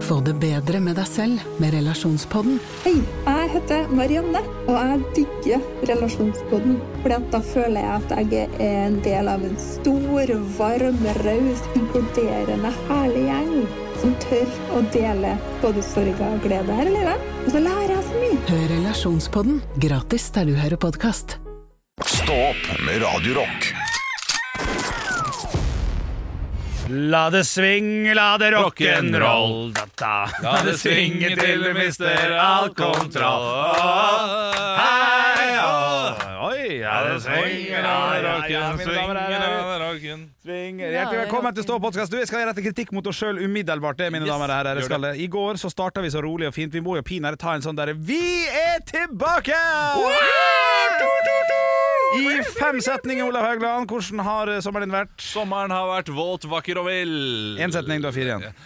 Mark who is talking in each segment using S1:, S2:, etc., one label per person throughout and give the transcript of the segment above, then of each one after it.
S1: Få det bedre med deg selv med relasjonspodden.
S2: Hei, jeg heter Marianne, og jeg digger relasjonspodden. For da føler jeg at jeg er en del av en stor, varm, raus, inkluderende, herlig gjeng som tør å dele både sorg og glede her i livet. Og så lærer jeg så mye.
S1: Hør relasjonspodden gratis der du hører podkast.
S3: Stå opp med Radio Rock.
S4: La det swing, la det rock'n'roll. Da, da.
S5: La det svinge til vi mister all kontroll. Åh, Hei, åh. Oi, ja, det svinger av rocken, svinger av rocken.
S4: Svinger. Hjertelig velkommen til Stå podcast. Du, Jeg skal rette kritikk mot oss sjøl umiddelbart. det, mine damer og herrer. Jeg Skal. det. I går så starta vi så rolig og fint. Vi må jo pinadø ta en sånn derre Vi er tilbake! I fem setninger, Olav Haugland. Hvordan har eh, sommeren din vært?
S5: Sommeren har vært våt, vakker og vill.
S4: Én setning, du har fire igjen.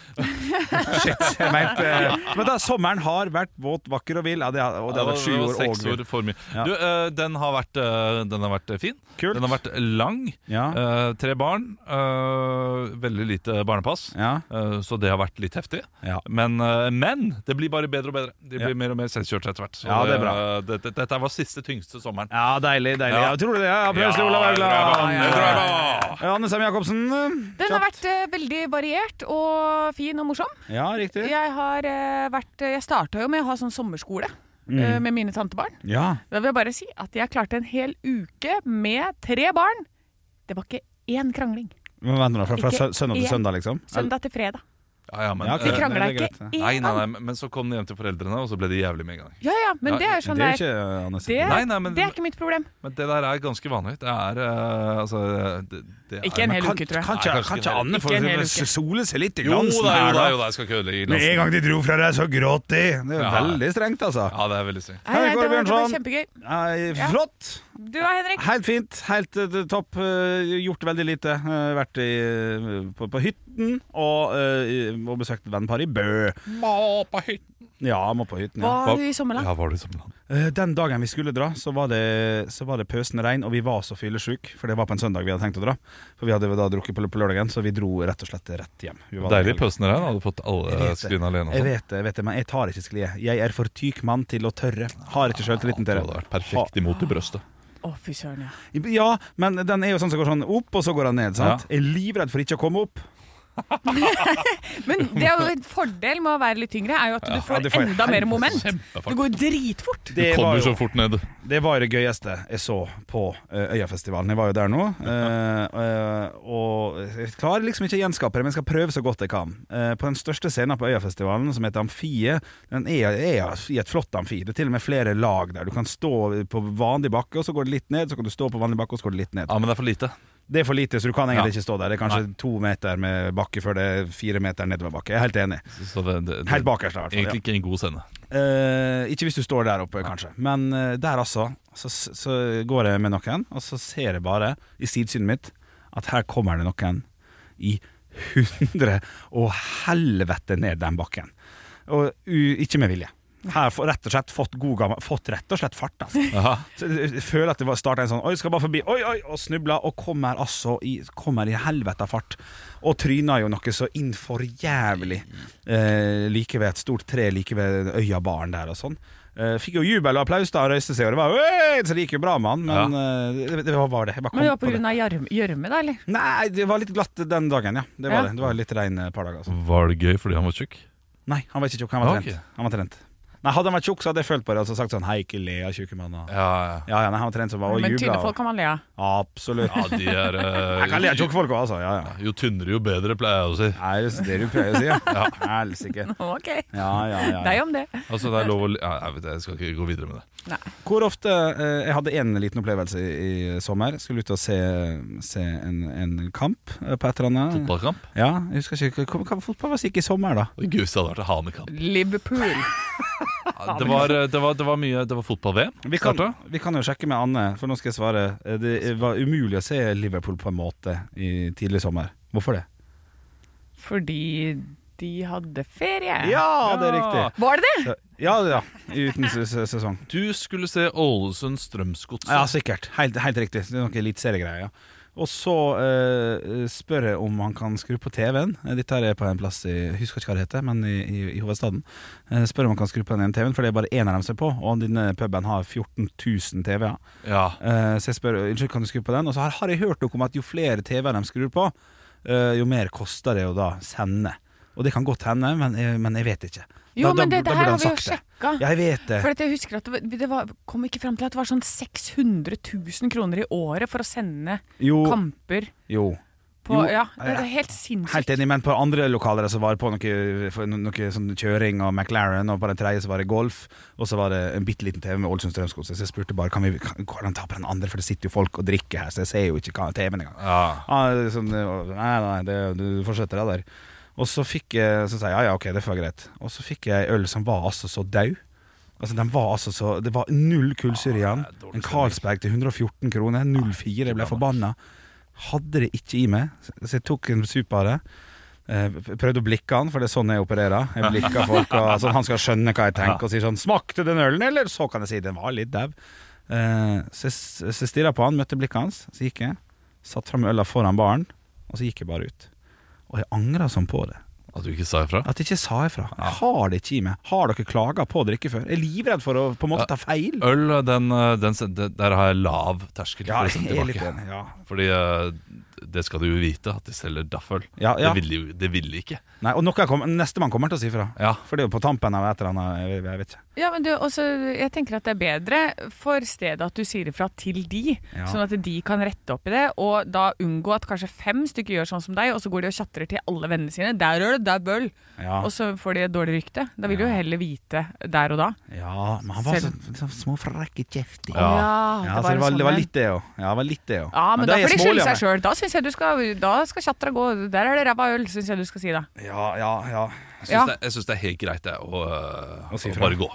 S4: Shit, jeg mente eh, Men da, sommeren har vært våt, vakker og vill. Ja, det har, og det har vært sju år og
S5: Seks
S4: vill.
S5: ord for mye.
S4: Ja.
S5: Du, eh, den, har vært, eh, den har vært fin.
S4: Kult.
S5: Den har vært lang.
S4: Ja.
S5: Eh, tre barn. eh, veldig lite barnepass.
S4: Ja.
S5: Eh, Så det har vært litt heftig.
S4: Ja.
S5: Men, eh, men det blir bare bedre og bedre. De blir
S4: Ja.
S5: mer og mer selvkjørte etter hvert. Så
S4: Ja, det er bra.
S5: eh, Dette, dette var siste tyngste sommeren.
S4: Ja, deilig, deilig.
S5: Ja.
S4: Ja. Tror du det? Ja, applaus til Olav
S5: bra,
S4: Haugland.
S5: bra, bra.
S4: Ja, Anne Sem Jacobsen.
S6: Den har vært eh, veldig variert og fin og morsom.
S4: Ja, riktig.
S6: Jeg har eh, vært Jeg starta jo med å ha sånn sommerskole
S4: Mm.
S6: eh, med mine tantebarn.
S4: Ja.
S6: Da vil jeg bare si at jeg klarte en hel uke med tre barn. Det var ikke én krangling.
S4: Men vent nå, fra, fra
S6: Ikke
S4: sø- søndag til
S6: én.
S4: søndag, liksom?
S6: Søndag til fredag.
S5: Ja, ja, men,
S4: Ja, ok.
S6: De
S4: krangler.
S5: eh,
S6: krangla
S4: det er
S6: ikke
S4: greit,
S5: Nei, nei,
S6: én
S5: nei,
S6: gang.
S5: men- men så kom de hjem til foreldrene, og så ble de jævlig med en gang.
S6: Ja, ja, men
S5: Ja,
S6: det er sånn
S4: det er jo
S6: det er.
S4: ikke Anne
S6: Det,
S4: Sem.
S5: Nei, nei, men-
S6: det er ikke mitt problem.
S5: Men det der er ganske vanlig. Det er eh, altså det, det
S6: Ikke en
S5: er,
S6: hel
S4: Kan,
S6: uke, tror jeg.
S4: kan
S5: Nei,
S4: ikke,
S5: kanskje
S4: kan
S5: ikke
S4: ikke Anne
S6: det.
S4: få
S6: Ikke en hel uke.
S4: sole seg litt i
S5: Jo da, jo
S4: glansen her,
S5: da,
S4: da?
S5: jo da, jeg skal ikke ødelegge
S4: Med en
S5: glansen.
S4: gang de dro fra deg, så gråt de! Det er
S5: Ja.
S4: veldig strengt, altså.
S5: Ja, det er veldig sykt.
S6: Nei, nei,
S4: Kåre
S6: det, var, det var
S4: Bjørnson.
S6: kjempegøy.
S4: Nei,
S6: Ja.
S4: Flott!
S6: Du da, Henrik?
S4: Helt fint, helt eh, topp. eh, Gjort veldig lite. Eh, Vært i, eh, på, på hytten og, eh, i- og besøkt vennparet i Bø. Ja, må på hytten. Ja.
S6: Var du i sommerland?
S5: Ja, var det som land?
S4: Eh, Den dagen vi skulle dra, så var det, så var det pøsende regn, og vi var så fyllesyke. For det var på en søndag vi hadde tenkt å dra. For vi hadde da drukket på, på lørdagen, så vi dro rett og slett rett hjem. Vi var
S5: Deilig
S4: der-
S5: pøsende regn. Hadde fått alle
S4: vet det.
S5: skrin alene.
S4: Jeg
S5: og sånn.
S4: vet det, jeg vet det, men jeg tar ikke sklie. Jeg er for tyk mann til å tørre. Har ikke sjøltilliten
S5: Det
S4: til
S5: hadde
S4: det.
S5: vært perfekt imot i brøstet.
S6: Å, fy søren, ja.
S4: Ja, men den er jo sånn som går sånn opp, og så går den ned. sant? Jeg er livredd for ikke å komme opp.
S6: Men det er jo en fordel med å være litt tyngre, er jo at du
S4: Ja,
S6: får
S4: det får jeg
S6: enda mer
S4: helvete
S6: moment.
S5: Kjempefart.
S6: Det går jo dritfort.
S4: Det var
S5: Kommer
S4: jo,
S5: så fort ned.
S4: det, var det gøyeste jeg så på eh, Øyafestivalen. Jeg var jo der nå. eh, eh, og jeg klarer liksom ikke å gjenskape det, men jeg skal prøve så godt jeg kan. Eh, på den største scenen på Øyafestivalen, som heter Amfiet, den er, er i et flott amfi. Det er til og med flere lag der. Du kan stå på vanlig bakke, og så går det litt ned. Så kan du stå på vanlig bakke, og så går det litt ned.
S5: Ja, men det er for lite.
S4: Det er for lite, så du kan egentlig
S5: Ja.
S4: ikke stå der. Det er kanskje to meter med bakke før det er fire meter nedoverbakke. Jeg er helt enig.
S5: Så det, det, det,
S4: Helt bakerst der, i hvert fall.
S5: Egentlig ikke en god scene.
S4: Ja. Eh, ikke hvis du står der oppe, kanskje. Men eh, der altså, så, så går jeg med noen, og så ser jeg bare i sidesynet mitt at her kommer det noen i hundre og helvete ned den bakken. Og u, ikke med vilje. Her får rett og slett fått god gammel Fått rett og slett fart, altså.
S5: Aha.
S4: Så jeg jeg føler at det var starta en sånn Oi, skal bare forbi Oi, oi, og snubla Og kommer altså i, kommer i helvete av fart Og tryna jo noe så innfor jævlig eh, Like ved et stort tre Like ved øya baren der og sånn eh, Fikk jo jubel og applaus da og Røyste seg Og det var «Oi!» Så det gikk jo bra med han Men eh, det, det var bare det Jeg bare
S6: Men det var
S4: kom på det
S6: pga. gjørme, da, eller?
S4: Nei, det var litt glatt den dagen, ja Det var
S6: Ja.
S4: det Det var litt regn et par dager altså.
S5: Var det gøy fordi han var tjukk?
S4: Nei, han var ikke tjukk, han var
S5: Ok.
S4: trent Han var trent Nei, hadde han vært tjukk så hadde jeg følt på det Og så sagt sånn, hei, ikke le av tjukke mann og...
S5: Ja, ja.
S4: Ja, ja, nei, han var trent så bare å
S6: Men
S4: jubla
S6: tynne
S4: og-
S6: folk kan man le av.
S4: Absolutt
S5: ja de er eh,
S4: Jeg kan le av tjukke folk òg, altså. Ja, ja.
S5: Jo tynnere, jo bedre, pleier jeg å si.
S4: Nei, det er det du pleier å si, ja. Helsike.
S6: Ok,
S4: Ja, ja, ja,
S6: deg
S4: ja.
S6: om det.
S5: Altså, det er lov å le- ja, Jeg vet det, jeg skal ikke gå videre med det.
S4: Hvor ofte eh, Jeg hadde en liten opplevelse i, i sommer. Skulle ut og se, se en, en kamp eh, på et eller annet.
S5: Fotballkamp?
S4: Ja, jeg husker ikke hva, hva fotball var sikkert i sommer, da.
S5: Det gøyeste hadde vært en hanekamp.
S6: Liverpool.
S5: Ja, Det var, eh, det var, det var mye Det var fotball-VM.
S4: Vi kan, vi kan jo sjekke med Anne, for nå skal jeg svare. Eh, Det var umulig å se Liverpool på en måte i tidlig sommer. Hvorfor det?
S6: Fordi de hadde ferie.
S4: Ja, det er riktig.
S6: Var det det?
S4: Ja, ja. Uten se- se- sesong.
S5: Du skulle se Ålesund Strømsgods.
S4: Ja, sikkert. Helt, helt riktig. Det er noe eliteseriegreier. Ja. Og så eh, spør jeg om han kan skru på TV-en. Eh, Dette her er på en plass i jeg husker ikke hva det heter, men i, i, i hovedstaden. Eh, spør om han kan skru på den ene TV-en, for det er bare én av dem som er på. Og denne puben har 14 000 TV-er.
S5: Ja.
S4: Eh, så jeg spør unnskyld, kan du skru på den. Og så har, har jeg hørt noe om at jo flere TV-er de skrur på, eh, jo mer koster det å da sende. Og det kan godt hende, men, jeg- men jeg vet ikke.
S6: Jo,
S4: da,
S6: men
S4: da,
S6: det,
S4: da
S6: det
S4: burde
S6: her
S4: han
S6: har vi jo
S4: sagt det.
S6: sjekka.
S4: Ja, jeg vet det.
S6: For at jeg husker at det, var- det var, kom ikke fram til at det var sånn 600 000 kroner i året for å sende
S4: Jo,
S6: kamper
S4: jo.
S6: på
S4: Jo,
S6: Ja, det, det er
S4: jeg-
S6: helt sinnssykt.
S4: Helt enig, men på andre lokaler så var det på noe, for no- noe sånn kjøring og McLaren, og på den tredje så var det golf, og så var det en bitte liten TV med Ålesund Strømskog, så jeg spurte bare kan vi, kan, går det an å ta på den andre, for det sitter jo folk og drikker her, så jeg ser jo ikke hva- TV-en engang.
S5: ja.
S4: Ja, det er sånn, nei, nei, nei, det, du fortsetter deg der. Og så fikk jeg Så sa jeg ja, ja, ok, det får være greit. Og så fikk jeg øl som var altså så daud. Altså, den var altså så Det var null kullsyre i den.
S5: Ja, Ah, det er dårlig Ah,
S4: En Carlsberg til 114 kroner. 04. Jeg ble forbanna. Hadde det ikke i meg, så jeg tok en sup av det. Eh, Prøvde å blikke han, for det er sånn jeg opererer. Jeg blikker folk og, sånn han skal skjønne hva jeg tenker, og sier sånn 'Smakte den ølen, eller?' Så kan jeg si 'den var litt dau'. Eh, Så jeg s- så jeg stirra på han, møtte blikket hans, så gikk jeg. Satt fram øla foran baren, og så gikk jeg bare ut. Og jeg angra sånn på det.
S5: At du ikke sa ifra?
S4: At jeg ikke sa ifra. Jeg har det ikke i meg. Har dere klaga på å drikke før? Jeg er livredd for å på en måte ta feil.
S5: Øl, den, eh, den, den, der har jeg lav terskel
S4: Ja,
S5: for å
S4: jeg
S5: sende
S4: er litt
S5: tilbake.
S4: enig. Ja.
S5: Fordi eh, det skal du jo vite, at de selger dafføl.
S4: Ja, ja.
S5: Det ville jo det ville de ikke.
S4: Nei, og noe kommer, nestemann kommer til å si ifra.
S5: Ja.
S4: For det er jo på tampen av et eller annet. Jeg, jeg vet ikke.
S6: Ja, men du, også, jeg tenker at det er bedre for stedet at du sier ifra til de,
S4: Ja.
S6: sånn at de kan rette opp i det, og da unngå at kanskje fem stykker gjør sånn som deg, og så går de og tjatrer til alle vennene sine. Der er det, der bøll!
S4: Ja.
S6: Og så får de et dårlig rykte. Da vil de jo heller vite der og da.
S4: Ja, men han var så,
S6: Selv-
S4: så små frekk i kjeften.
S5: Ja.
S4: Ja, så det var, sånn det var litt det òg. Ja, det var litt det òg.
S6: sånn Ja, men,
S4: det
S6: da
S4: er
S6: får de
S4: jeg smålig
S6: skylde
S4: av
S6: seg sjøl. Da syns jeg du skal Da skal tjatra gå. Der er det ræva øl, syns jeg du skal si da.
S4: meg. Ja, ja, ja.
S5: Jeg syns
S6: Ja.
S5: det, jeg synes det er helt greit det, å, eh,
S4: Å si
S5: å
S4: fra.
S5: bare gå.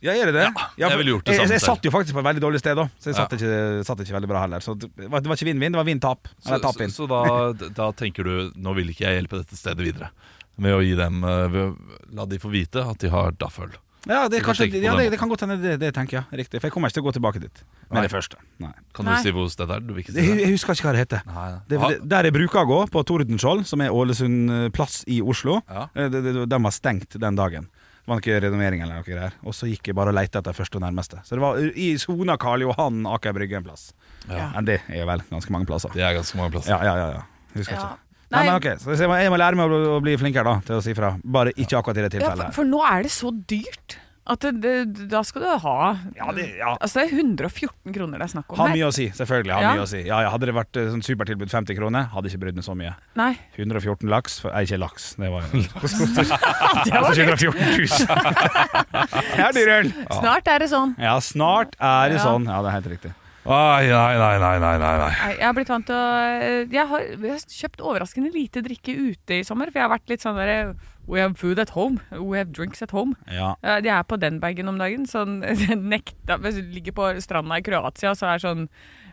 S4: Ja, gjør det det?
S5: Ja,
S4: for-
S5: jeg ville gjort det
S4: jeg,
S5: samme
S4: jeg,
S5: selv.
S4: satt jo faktisk på et veldig dårlig sted òg, så jeg satt,
S5: Ja.
S4: ikke, satt ikke veldig bra heller. Så det var, det var ikke vinn-vinn, det var vinn-tap.
S5: Så,
S4: Eller
S5: så,
S4: tap-vinn.
S5: så da, da tenker du nå vil ikke jeg hjelpe dette stedet videre. Med å gi dem eh, ved, å La de få vite at de har dafføl.
S4: Ja, det, er
S5: Du kan
S4: kanskje,
S5: tenke på
S4: ja
S5: den
S4: det, det kan godt hende det, det tenker jeg. Riktig. For jeg kommer ikke til å gå tilbake dit.
S5: Nei.
S4: Med det første. Nei.
S5: Kan
S6: Nei.
S5: du si hvor stedet er? Du vil ikke si
S4: Jeg,
S5: det?
S4: jeg husker ikke hva det heter.
S5: Nei.
S4: Det,
S5: Ah,
S4: det, der jeg bruker å gå, på Tordenskjold, som er Ålesund eh, plass i Oslo,
S5: Ja.
S4: eh, det- det- den var stengt den dagen. Det var ikke renovering eller noe greier. Og så gikk jeg bare og lette etter første og nærmeste. Så det var i sona Karl Johan, Aker Brygge en plass.
S5: Ja.
S4: Men det er vel ganske mange plasser.
S5: det er ganske mange plasser.
S4: Ja, ja, ja. ja. Husker
S6: Ja.
S4: ikke. Nei,
S6: Nei.
S4: men ok, så jeg må, jeg må lære meg å bli- å bli flinkere da, til å si fra. Bare ikke akkurat i det
S6: Ja,
S4: tilfellet.
S6: for,
S4: her.
S6: for nå er det så dyrt at det, det, da skal du ha
S4: Ja, det, ja.
S6: Altså, det er 114 kroner det er snakk om
S4: Ha
S6: her.
S4: mye å si, selvfølgelig. Ha
S6: Ja.
S4: mye å si. Ja, ja, hadde det vært eh, sånn supertilbud 50 kroner, hadde ikke brydd meg så mye.
S6: Nei.
S4: 114 laks for, Nei, ikke laks. Det var Altså,
S6: Det var dyrt.
S4: 114 000. Det er dyr øl.
S6: Snart er det sånn.
S4: Ja, snart er det
S6: Ja.
S4: sånn. Ja, det er helt riktig.
S5: Ai, nei, nei, nei, nei, nei, nei.
S6: Nei, Jeg har blitt vant til å eh, jeg har, jeg har kjøpt overraskende lite drikke ute i sommer, for jeg har vært litt sånn derre We have food at home. We have drinks at home.
S4: Ja.
S6: Eh, Jeg er på den bagen om dagen. Sånn nekta Hvis du ligger på stranda i Kroatia, så er sånn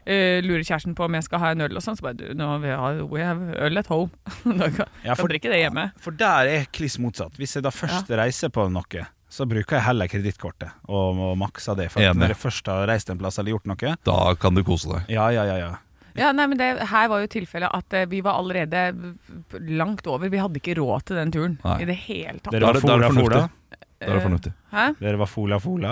S6: eh, Lurer kjæresten på om jeg skal ha en øl og sånn, så bare du, nå, vi har, We have øl at home. Da kan,
S4: Ja, for-
S6: kan drikke det hjemme.
S4: For der er jeg kliss motsatt. Hvis jeg da først reiser på noe, så bruker jeg heller kredittkortet og, og makser det. For at
S5: Enig.
S4: når jeg først har reist en plass eller gjort noe
S5: Da kan du kose deg.
S4: Ja, ja, ja. ja.
S6: Ja, nei, men det, Her var jo tilfellet at eh, vi var allerede langt over. Vi hadde ikke råd til den turen
S5: Nei.
S6: i det hele tatt.
S4: Dere var
S5: Da er det- da er det
S4: fola, fola.
S5: fornuftig. Da er det fornuftig.
S6: Hæ?
S4: Dere var fola, fola.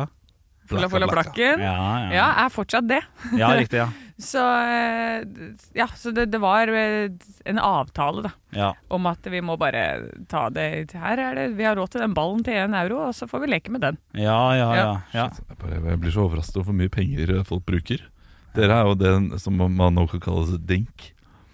S6: Fulla, fulla
S5: Blakka, blakka.
S6: plakken.
S4: Ja, ja.
S6: Ja, er fortsatt det.
S4: ja riktig, ja.
S6: Så, eh, ja, så det, det var eh, en avtale, da.
S4: ja.
S6: Om at vi må bare ta det Her er det, vi har råd til den ballen til én euro, og så får vi leke med den.
S4: Ja, ja, ja. ja.
S5: Jeg, bare, jeg blir så overrasket over hvor mye penger eh, folk bruker. Dere er jo det som man nå kan kalle dink.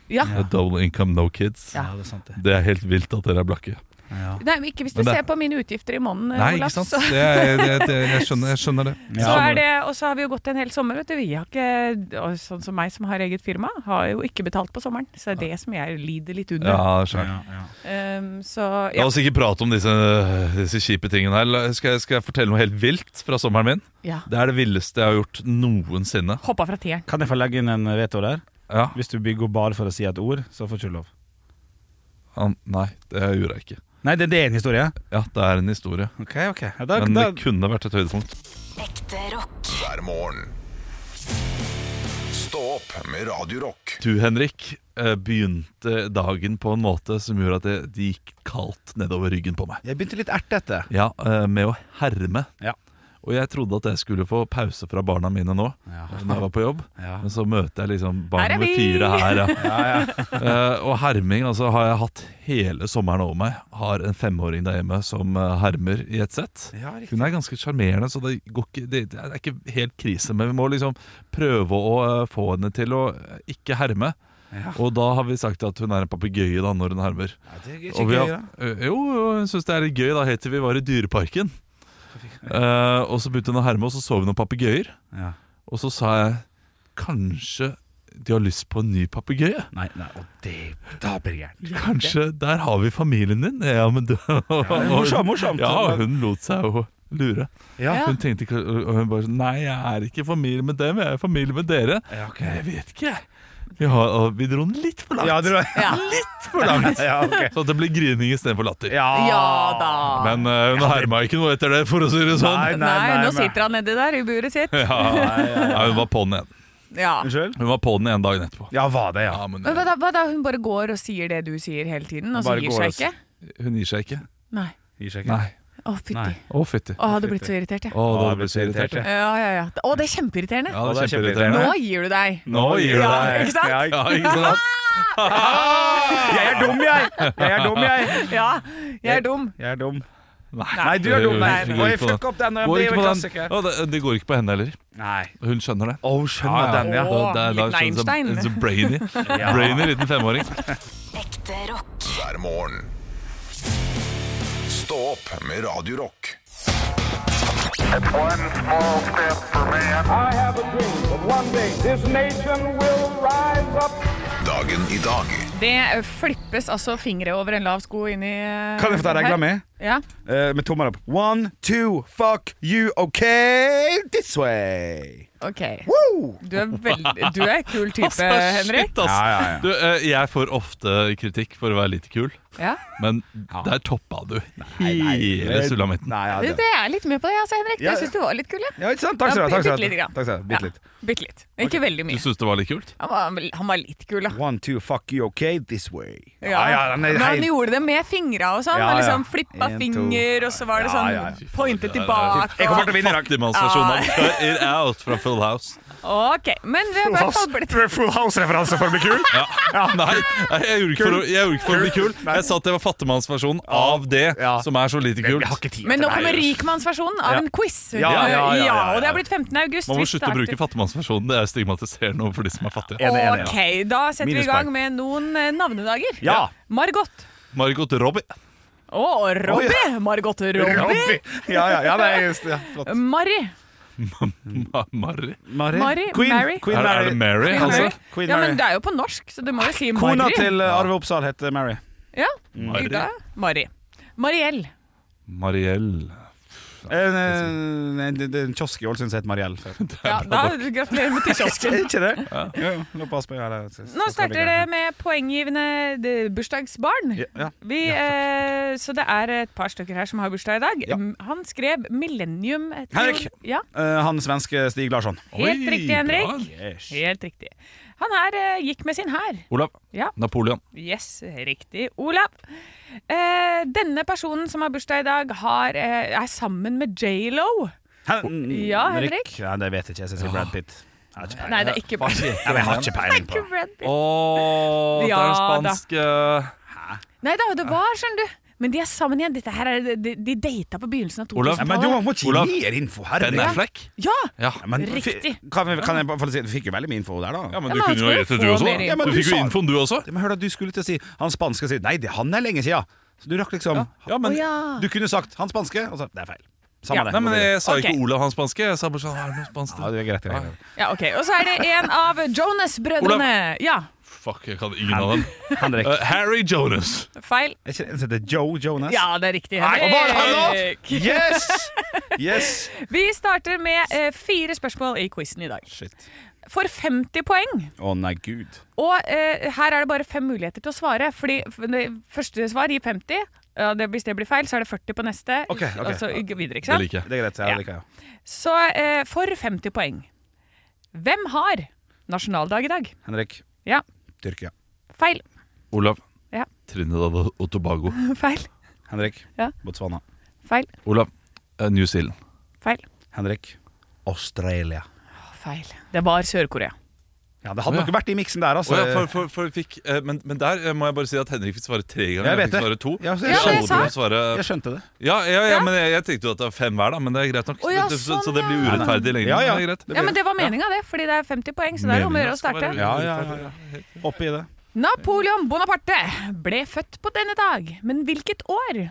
S6: Ja.
S5: Double income, no kids.
S6: Ja.
S4: det er sant, det.
S5: Det er helt vilt at dere er blakke.
S4: Ja.
S6: Nei, men ikke hvis du
S5: Men det-
S6: ser på mine utgifter i måneden, eh,
S5: Nei,
S6: Olav,
S5: ikke sant?
S6: så,
S5: Det er, det, det, jeg, skjønner, jeg skjønner det.
S6: så
S4: Ja.
S6: er det Og så har vi jo gått en hel sommer, vet du. Vi har ikke og Sånn som meg som har eget firma, har jo ikke betalt på sommeren. Så det er det som jeg lider litt
S5: Ja,
S6: under.
S5: skjønner.
S4: Ja, ja.
S6: Um, så
S5: La
S6: ja.
S5: oss ikke prate om disse, disse kjipe tingene her. La- Skal jeg, skal jeg fortelle noe helt vilt fra sommeren min?
S6: ja.
S5: Det er det villeste jeg har gjort noensinne.
S6: Hoppa fra tieren.
S4: Kan jeg få legge inn en veto der?
S5: Ja,
S4: Hvis du bygger opp bare for å si et ord, så får du ikke lov.
S5: han, Nei, det gjorde jeg ikke.
S4: Nei, det, det er en historie.
S5: Ja, det er en historie.
S4: Ok, ok. Ja, da,
S5: Men
S4: da,
S5: det kunne vært et høydepunkt.
S7: Ekte rock.
S3: hver morgen. Stå Stå opp med Radio Rock.
S5: Du, Henrik, eh, begynte dagen på en måte som gjorde at det, det gikk kaldt nedover ryggen på meg.
S4: Jeg begynte litt ertete.
S5: Ja, eh, med å herme.
S4: Ja.
S5: Og jeg trodde at jeg skulle få pause fra barna mine nå, eh,
S4: Ja.
S5: når jeg var på jobb.
S4: Ja.
S5: Men så møter jeg liksom
S6: Her
S5: barn
S6: er
S5: med
S6: vi!
S5: fire her. Ja.
S4: Ja, ja.
S5: Eh, og herming altså, har jeg hatt hele sommeren over meg. Har en femåring der hjemme som eh, hermer i et sett.
S4: ja riktig.
S5: Hun er ganske sjarmerende, så det, går ikke, det, det er ikke helt krise. Men vi må liksom prøve å eh, få henne til å eh, ikke herme.
S4: Ja.
S5: Og da har vi sagt at hun er en papegøye da, når hun hermer.
S4: Ja, det er
S5: Og vi
S4: ikke gøy,
S5: har,
S4: da.
S5: Eh, jo, jo, hun syntes det er litt gøy da, helt til vi var i Dyreparken. Eh, og så begynte hun å herme, og så så vi noen papegøyer.
S4: Ja.
S5: Og så sa jeg kanskje de har lyst på en ny papegøye.
S4: Nei, nei, og det Da blir det gærent.
S5: Kanskje der har vi familien din? Ja, men du
S4: morsomt, morsomt.
S5: Ja, hun lot seg jo lure.
S4: Ja.
S5: Hun tenkte ikke og hun bare sånn Nei, jeg er ikke i familie med dem, jeg er i familie med dere.
S4: Ja, ok.
S5: Jeg vet ikke, jeg. Vi, har, og vi dro den litt for langt.
S4: Ja, det var
S5: Litt for langt!
S4: Ja, ok.
S5: Så det ble grining istedenfor latter.
S4: Ja.
S6: Ja da.
S5: Men eh, hun herma ikke noe etter det, for å si det
S4: Nei,
S5: sånn.
S6: Nei, nå
S4: men-
S6: sitter han nedi der i buret sitt.
S5: Ja, ja, hun var på den igjen.
S6: Ja.
S4: Unnskyld?
S5: Hun var på den igjen dagen etterpå.
S4: Ja, var det, ja.
S5: Ja, men
S6: Men hva da, hva da, hun bare går og sier det du sier hele tiden, og så
S4: Bare
S6: gir
S4: går
S6: seg
S4: og
S6: ikke?
S5: eh, hun gir seg ikke.
S6: Nei.
S4: Gir seg ikke.
S5: Nei.
S6: Å, fytti.
S4: Nei.
S5: Å, fytti.
S6: Å, jeg hadde blitt så irritert, jeg.
S5: Å, da ble jeg så irritert. jeg.
S6: Ja, ja, ja. Å, det er kjempeirriterende.
S5: Ja, det er
S4: Å, det er
S5: kjempeirriterende.
S6: Nå gir du deg.
S5: Nå gir du
S6: Ja,
S5: deg.
S6: ikke sant?
S4: Ja,
S5: Ja, ikke sant?
S4: Jeg er dum, jeg! Jeg er dum, jeg!
S6: Ja, jeg er dum.
S4: Jeg er dum.
S5: Nei,
S4: Nei, du er dum. Nei,
S5: det
S4: Oi,
S5: går ikke på
S4: fuck opp den.
S5: den.
S4: Det
S5: Går
S4: er
S5: ikke
S4: jo
S5: på
S4: en
S5: den.
S4: klassiker.
S5: Å, det, det går ikke på henne heller.
S4: Nei.
S5: Hun skjønner det.
S4: Å, skjønner den, ja.
S5: Da- det er- da
S6: liten
S5: skjønner
S6: Einstein.
S5: hun som- så brainy.
S4: Ja.
S5: Brainy liten femåring.
S7: Ekte rock.
S3: hver morgen. Stå opp med Radio Rock.
S8: One small step for man. I have a dream that one day this nation will rise up.
S3: Dagen i dag
S6: Det eh, flippes altså fingre over en lav sko inni
S4: Kan jeg få ta regla mi?
S6: Ja.
S4: Eh, med tommelen opp. One, two, fuck you, OK? This way.
S6: Ok.
S4: Woo!
S6: Du er veldig Du er kul type,
S5: Altså,
S6: Henrik.
S5: shit, ass.
S4: Ja, ja, ja.
S5: Du, eh, jeg får ofte kritikk for å være lite kul,
S6: Ja.
S5: men der toppa du hele sulamitten.
S4: Nei, ja,
S6: Du,
S4: det.
S6: jeg er litt med på det, altså, Henrik.
S4: Ja,
S6: Jeg syns du var litt kul, ja.
S4: ja, ikke sant? Takk skal du ha.
S6: Ja,
S4: Takk skal
S6: bitte lite
S4: du ha.
S6: grann.
S4: Takk skal du ha. Bitte litt.
S6: Ja, bitte litt. Ikke veldig
S5: Du
S6: mye.
S5: syns det var litt kult?
S6: Han var, han var litt kul, da.
S4: One, two, fuck you, OK? This way. den er
S6: Men han
S4: helt-
S6: gjorde det med fingra og sånn.
S4: Ja,
S6: Han
S4: ja.
S6: liksom flippa
S4: En, to.
S6: finger, og så var det
S4: Ja, ja, ja.
S6: sånn pointet
S5: det er-
S6: tilbake.
S4: Jeg kommer til å vinne i dag.
S5: Fattigmannsversjonen av Cut It Out fra Full House.
S6: Ok, men vi har i hvert fall blitt
S4: Full House-referanse for å bli kul.
S5: Nei, nei, jeg gjorde ikke for å- jeg gjorde ikke for å bli kul. Jeg sa at det var fattigmannsversjonen av det
S4: Ja.
S5: som er så lite
S4: Jeg
S5: kult.
S4: har ikke tid
S6: Men nå
S4: til
S6: kommer
S4: det.
S6: rikmannsversjonen av
S4: Ja.
S6: en quiz.
S4: Ja, ja, ja, ja, ja.
S6: Og det har blitt 15. august.
S5: Man må
S6: hvis det
S5: slutte å
S6: er
S5: bruke
S6: aktivt.
S5: fattigmannsversjonen. Det er stigmatiserende overfor de som er fattige.
S4: Enig, enig,
S6: Ok, da setter vi i gang
S4: Minuspoeng.
S6: med noen eh, navnedager.
S4: Ja.
S6: Margot.
S5: Margot Robbie.
S6: Å, Robbie. Margot Robbie.
S4: Robbie. Ja, ja, ja, det er just, ja, flott.
S6: Mari.
S4: Mm.
S5: Ma- Marry?
S6: Mari,
S4: Queen,
S6: Mary.
S4: Queen
S5: Er, er det Mary,
S6: Queen
S5: altså?
S6: Mary.
S4: Queen
S6: ja,
S4: Mary.
S6: men det er jo på norsk, så du må jo si Mari.
S4: Kona til eh, Arve Oppsal heter Mary.
S6: Ja,
S5: Mari.
S6: da. Mari. Mariell.
S4: Eh,
S5: Mariell.
S4: eh, En, en, en kiosk i Ålesund som heter Mariell. før.
S6: Ja, da gratulerer med til kiosken.
S4: Er ikke det? Ja. Jo, nå passer jeg, eller, så- så-
S6: Nå
S4: så-
S6: starter det med poenggivende eh, bursdagsbarn.
S4: Ja, ja.
S6: Vi, eh, så det er et par stykker her som har bursdag i dag.
S4: Ja.
S6: Mm, Han skrev 'Millennium'. til-
S4: Henrik.
S6: Ja,
S4: Eh, han svenske Stig Larsson.
S6: helt
S5: Oi,
S6: riktig, Henrik.
S5: bra.
S6: Helt riktig. Han her eh, gikk med sin hær.
S5: Olav.
S6: Ja.
S5: Napoleon.
S6: Yes, riktig. Olav. Eh, denne personen som har bursdag i dag, har, eh, er sammen med J.Lo.
S4: Hen
S6: Ja, Henrik?
S4: Ja, det vet jeg ikke. Jeg skal si Brad Pitt. Jeg har ikke peiling.
S6: Nei, det er ikke Brad Pitt.
S4: Ja, men jeg har ikke peiling på
S6: Ikke Brad Pitt.
S5: Ååå,
S6: det er en Ja, da.
S5: uh,
S6: Nei da, det var, skjønner du. Men de er sammen igjen. Dette her er, de, de data på begynnelsen av
S5: Olav.
S4: ja, men du
S6: 2000-tallet.
S4: må ikke
S5: Olav.
S4: gi mer info.
S5: Ben
S4: Herregud.
S5: Affleck.
S6: Ja!
S5: Ja.
S4: Ja, men,
S6: Riktig.
S4: fi- Kan, vi- kan jeg bare få si at Du fikk jo veldig mye info der, da.
S5: men
S6: Ja, men han skulle jo få mer
S5: da.
S6: info.
S5: Ja, men
S4: Du
S5: du fikk jo
S4: sa-
S5: infoen, du også.
S4: Men hør da, Du skulle til å si han spanske sier Nei, det, han er lenge siden. Så du rakk liksom
S5: Ja, men,
S6: Å, ja.
S4: Du kunne sagt han spanske, og så Det er feil.
S6: Ja.
S4: Samme det.
S5: Nei, men jeg sa ikke
S6: Ok.
S5: Olav han spanske. Jeg sa bare sånn Er det noe spansk
S4: ja,
S5: til?
S4: det er greit, det er greit.
S6: Ja, ok. Og så er det en av Jonas-brødrene. Ja,
S5: Fuck, jeg kan ingen av dem.
S4: Henrik.
S5: Eh, Harry Jonas.
S6: feil.
S4: Er ikke det en som heter Joe Jonas?
S6: Ja, det er riktig.
S4: Nei, og hva er han da?
S6: Henrik.
S4: Yes! Yes!
S6: Vi starter med eh, fire spørsmål i quizen i dag.
S4: Shit.
S6: For 50 poeng.
S4: Å nei, gud.
S6: Og eh, her er det bare fem muligheter til å svare. Fordi f- det første svar gir 50. Ja, det, hvis det blir feil, så er det 40 på neste.
S4: Ok, ok.
S6: Og så videre,
S5: Det
S6: ikke sant? eh,
S5: liker jeg.
S4: Det er greit.
S6: Ja.
S4: Jeg liker det.
S6: Så eh, for 50 poeng Hvem har nasjonaldag i dag.
S4: Henrik.
S6: Ja.
S4: Tyrkia.
S6: Feil.
S5: Olav.
S6: Ja.
S5: Trinidad og- og Tobago.
S6: Feil.
S4: Henrik.
S6: Ja.
S4: Botswana.
S6: Feil.
S5: Olav. eh, New Zealand.
S6: Feil.
S4: Henrik. Australia.
S6: Feil. Det var Sør-Korea.
S4: Ja, det hadde
S5: Å, ja.
S4: nok vært i miksen der, altså.
S5: Å ja, for, for, for vi fikk, eh, men, men der eh, må jeg bare si at Henrik fikk svare tre ganger.
S4: Jeg vet
S5: fikk
S4: det.
S5: svare to.
S4: Ja, så-
S6: Ja, det
S5: Sjalvo
S6: sa jeg.
S5: må svare
S4: Jeg skjønte det.
S5: Ja, ja, ja,
S6: Ja.
S5: men jeg, jeg tenkte jo at det er fem hver, da, men det er greit nok.
S6: Å, ja,
S5: så, så,
S6: sånn,
S5: så det blir
S6: ja.
S5: urettferdig i lengden.
S4: Ja, ja.
S5: Men det er greit.
S6: Ja, men det var meninga, det. Fordi det er 50 poeng, så det er om å gjøre å
S5: Meningen skal
S6: starte.
S5: være
S4: Ja, ja, ja,
S5: urettferdig,
S4: Oppi det.
S6: Napoleon Bonaparte ble født på denne dag, men hvilket år?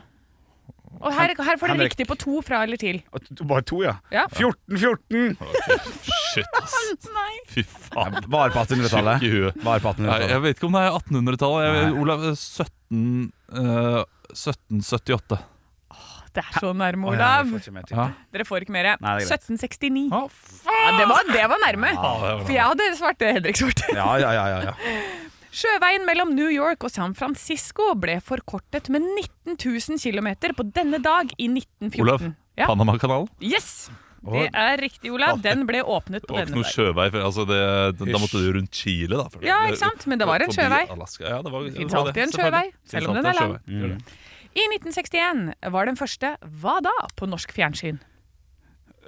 S6: Og her, her får dere
S4: Henrik.
S6: riktig på to fra eller til.
S4: Og t- Bare to, ja.
S6: Ja.
S4: 14-14!
S5: Shit, ass.
S6: Nei.
S5: Fy faen.
S4: Bare på
S5: Tjukk
S4: 1800-tallet.
S5: i huet.
S4: Bare på
S5: Nei,
S4: 1800-tallet.
S5: jeg vet ikke om det er 1800-tallet. Jeg vet-
S4: Nei.
S5: Olav, eh, 17... eh, 1778.
S6: Det er så nærme,
S4: Å, ja, jeg
S6: Olav.
S4: får ikke med til.
S5: Ja.
S6: Dere får ikke mer.
S4: Nei, det er greit.
S6: 1769.
S5: Å,
S6: Ja, det, var, det var nærme.
S5: var
S6: For jeg hadde svart det Henrik svarte.
S4: Ja, ja, ja, ja, ja.
S6: Sjøveien mellom New York og San Francisco ble forkortet med 19 000 km på denne dag i 1914.
S5: Olav,
S6: Ja.
S5: Panamakanalen.
S6: Yes! Det er riktig, Olav. Den ble åpnet
S5: Det
S6: på
S5: var ikke
S6: denne
S5: noe
S6: dag.
S5: sjøvei. For, altså det, da måtte du rundt Chile, da. for-
S6: Ja, ikke sant? Men det var en
S5: forbi
S6: sjøvei.
S5: Alaska. Ja, det var, det
S6: finnes
S5: var
S6: alltid en
S5: selvfølgelig.
S6: sjøvei, selv om
S5: Finnes
S6: den er
S5: alltid en
S6: lang.
S5: sjøvei. Gjør det.
S6: I 1961 var den første Hva da? på norsk fjernsyn.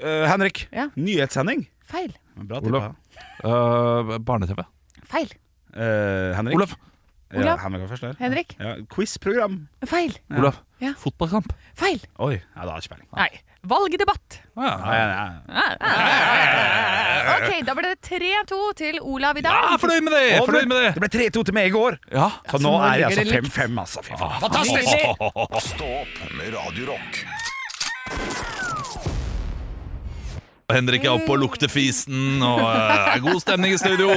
S4: Eh, Henrik.
S6: Ja.
S4: Nyhetssending.
S6: Feil.
S4: Bra
S5: Olav.
S4: tippa.
S5: Eh, Barne-TV.
S6: Feil.
S4: Eh, Henrik.
S5: Olav.
S4: Ja,
S6: Olav.
S4: Henrik var først der.
S6: Henrik.
S4: Ja, Quiz-program.
S6: Feil.
S5: Olav.
S6: Ja.
S5: Fotballkamp.
S6: Feil.
S4: Oi. Ja, da har jeg ikke peiling.
S6: Nei. Valgdebatt.
S4: Nei,
S5: Ja,
S4: nei, nei.
S6: Ah, ah, ah. Ok, da ble det 3-2 til Olav i dag.
S5: ja fornøyd Ah, med det!
S4: Å,
S5: Fornøyd med
S4: Det
S5: det!
S4: ble 3-2 til meg i går.
S5: Ja.
S4: Så nå
S6: nå
S4: er det
S6: ligger
S4: altså
S6: det likt.
S4: 5-5, altså. Fy faen.
S6: Nydelig.
S3: Stå opp med Radio Rock.
S5: Henrik er oppe og lukter fisen, og eh, det er god stemning i studio.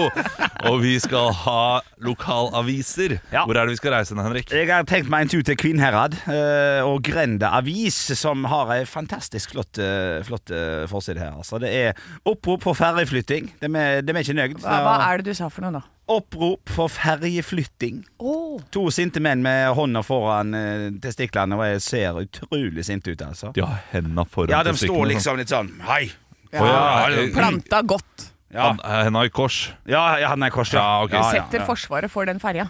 S5: Og vi skal ha lokalaviser.
S4: Ja.
S5: Hvor er det vi skal reise hen, Henrik?
S4: Jeg har tenkt meg en tur til Kvinnherad eh, og Grenda Avis, som har ei fantastisk flott, eh, flott eh, forside her. Altså, det er opprop for ferjeflytting. De er, de er ikke nøyd.
S6: Hva, hva er det du sa for noe, da?
S4: Opprop for ferjeflytting.
S6: Oh.
S4: To sinte menn med hånda foran eh, testiklene, og jeg ser utrolig sinte ut, altså.
S5: De har henda foran
S4: Ja, de
S5: testiklene,
S4: står
S5: sånn.
S4: liksom litt sånn Hei!
S5: Å, ja,
S4: Ja,
S5: eh,
S6: Planta godt.
S4: Ja,
S5: han- eh, Henda i kors.
S4: ja, ja han er korset.
S5: Ja, ok.
S4: ja,
S6: Setter Forsvaret for den ferja.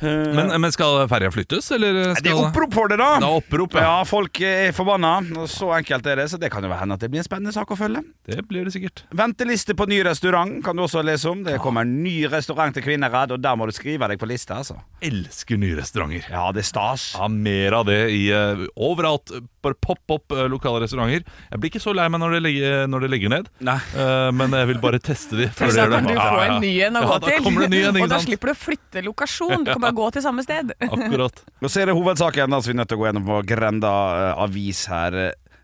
S5: Men, eh, men skal ferja flyttes, eller
S4: Det
S5: skal
S4: er opprop for det, da!
S5: Det er opprop, ja.
S4: Ja, folk er forbanna. og Så enkelt er det, så det kan jo være hende at det blir en spennende sak å følge.
S5: Det blir det sikkert.
S4: Venteliste på ny restaurant kan du også lese om. Det kommer en ny restaurant til Kvinnherad, og der må du skrive deg på lista, altså.
S5: Elsker nye restauranter.
S4: Ja, det er stas.
S5: Ja, mer av det i, eh, overalt. Bare popp opp eh, lokale restauranter. Jeg blir ikke så lei meg når det legger, når det legger ned,
S4: Nei.
S5: eh, men jeg vil bare teste de. før
S6: For
S5: de
S6: da
S5: gjør det.
S6: kan du
S5: Ja,
S6: få
S5: ja, ja.
S6: en ny en å
S5: Ja,
S6: gå
S5: da
S6: til.
S5: kommer det en ny en, ikke
S6: Og da
S5: sant?
S6: slipper du å flytte lokasjon. Du kan bare gå til samme sted.
S5: Akkurat.
S4: Og så er det hovedsaken da, som vi er nødt til å gå gjennom på Grenda eh, avis her.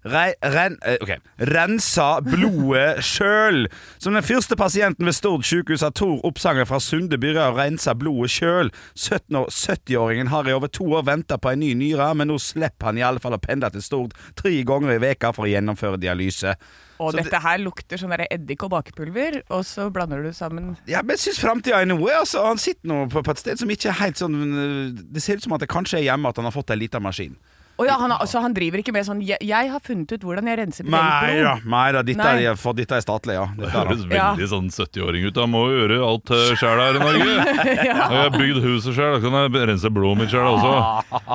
S4: Re, ren, eh, ok. Rensa blodet sjøl. Som den første pasienten ved Stord sykehus har Tor Oppsanger fra Sunde byrå rensa blodet sjøl. 17 år- 70-åringen har i over to år venta på en ny nyre, men nå slipper han i alle fall å pendle til Stord tre ganger i veka for å gjennomføre dialyse.
S6: Og
S4: Så det-
S6: dette her lukter sånn der eddik og bakepulver, og så blander du sammen
S4: Ja, men jeg syns framtida er noe. Altså, han sitter nå på, på et sted som ikke er helt sånn eh, Det ser ut som at det kanskje er hjemme at han har fått ei lita maskin.
S6: Å ja, han, har- altså, han driver ikke med sånn jeg, 'Jeg har funnet ut hvordan jeg renser mitt
S4: Nei
S6: eget
S4: da,
S6: blod'.
S4: nei da. Dette,
S6: Nei.
S4: Er, for dette er statlig, ja.
S5: Det
S4: Dette er,
S5: høres
S4: da.
S6: Ja.
S5: veldig sånn 70-åring ut. Han må jo gjøre alt eh, sjæl her i Norge. Når jeg har bygd huset sjæl, da kan jeg rense blodet mitt sjæl også.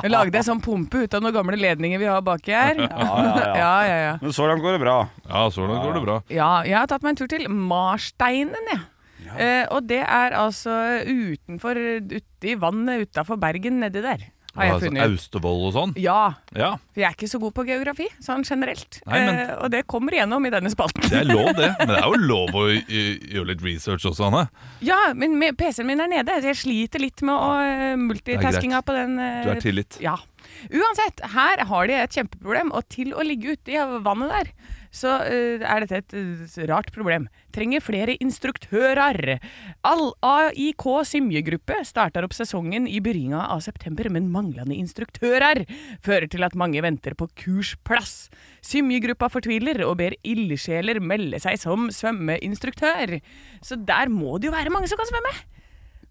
S6: Jeg lagde en sånn pumpe ut av noen gamle ledninger vi har baki her. Ja, ja, ja. ja.
S4: Men så langt går det bra.
S5: Ja, så langt går det bra.
S6: Ja, jeg har tatt meg en tur til Marsteinen, jeg. Eh, og det er altså utenfor Ute i vannet utafor Bergen, nedi der, har jeg
S5: Altså,
S6: funnet ut.
S5: Austevoll og sånn.
S6: Ja,
S5: Ja,
S6: for jeg er ikke så god på geografi, sånn generelt.
S5: Nei, men-
S6: eh, og det kommer igjennom i denne spalten.
S5: det er lov, det. Men det er jo lov å eh, gjøre litt research også, Anne.
S6: Ja, men med- PC-en min er nede, så jeg sliter litt med å eh, multitaskinga på den. eh,
S5: Du er tillit.
S6: Ja. Uansett, her har de et kjempeproblem, og til å ligge ute i vannet der, så eh, er dette et eh, rart problem. Trenger flere instruktører. All AIK Symjegruppe starter opp sesongen i begynnelsen av september, men manglende instruktører fører til at mange venter på kursplass. Symjegruppa fortviler og ber ildsjeler melde seg som svømmeinstruktør. Så der må det jo være mange som kan svømme!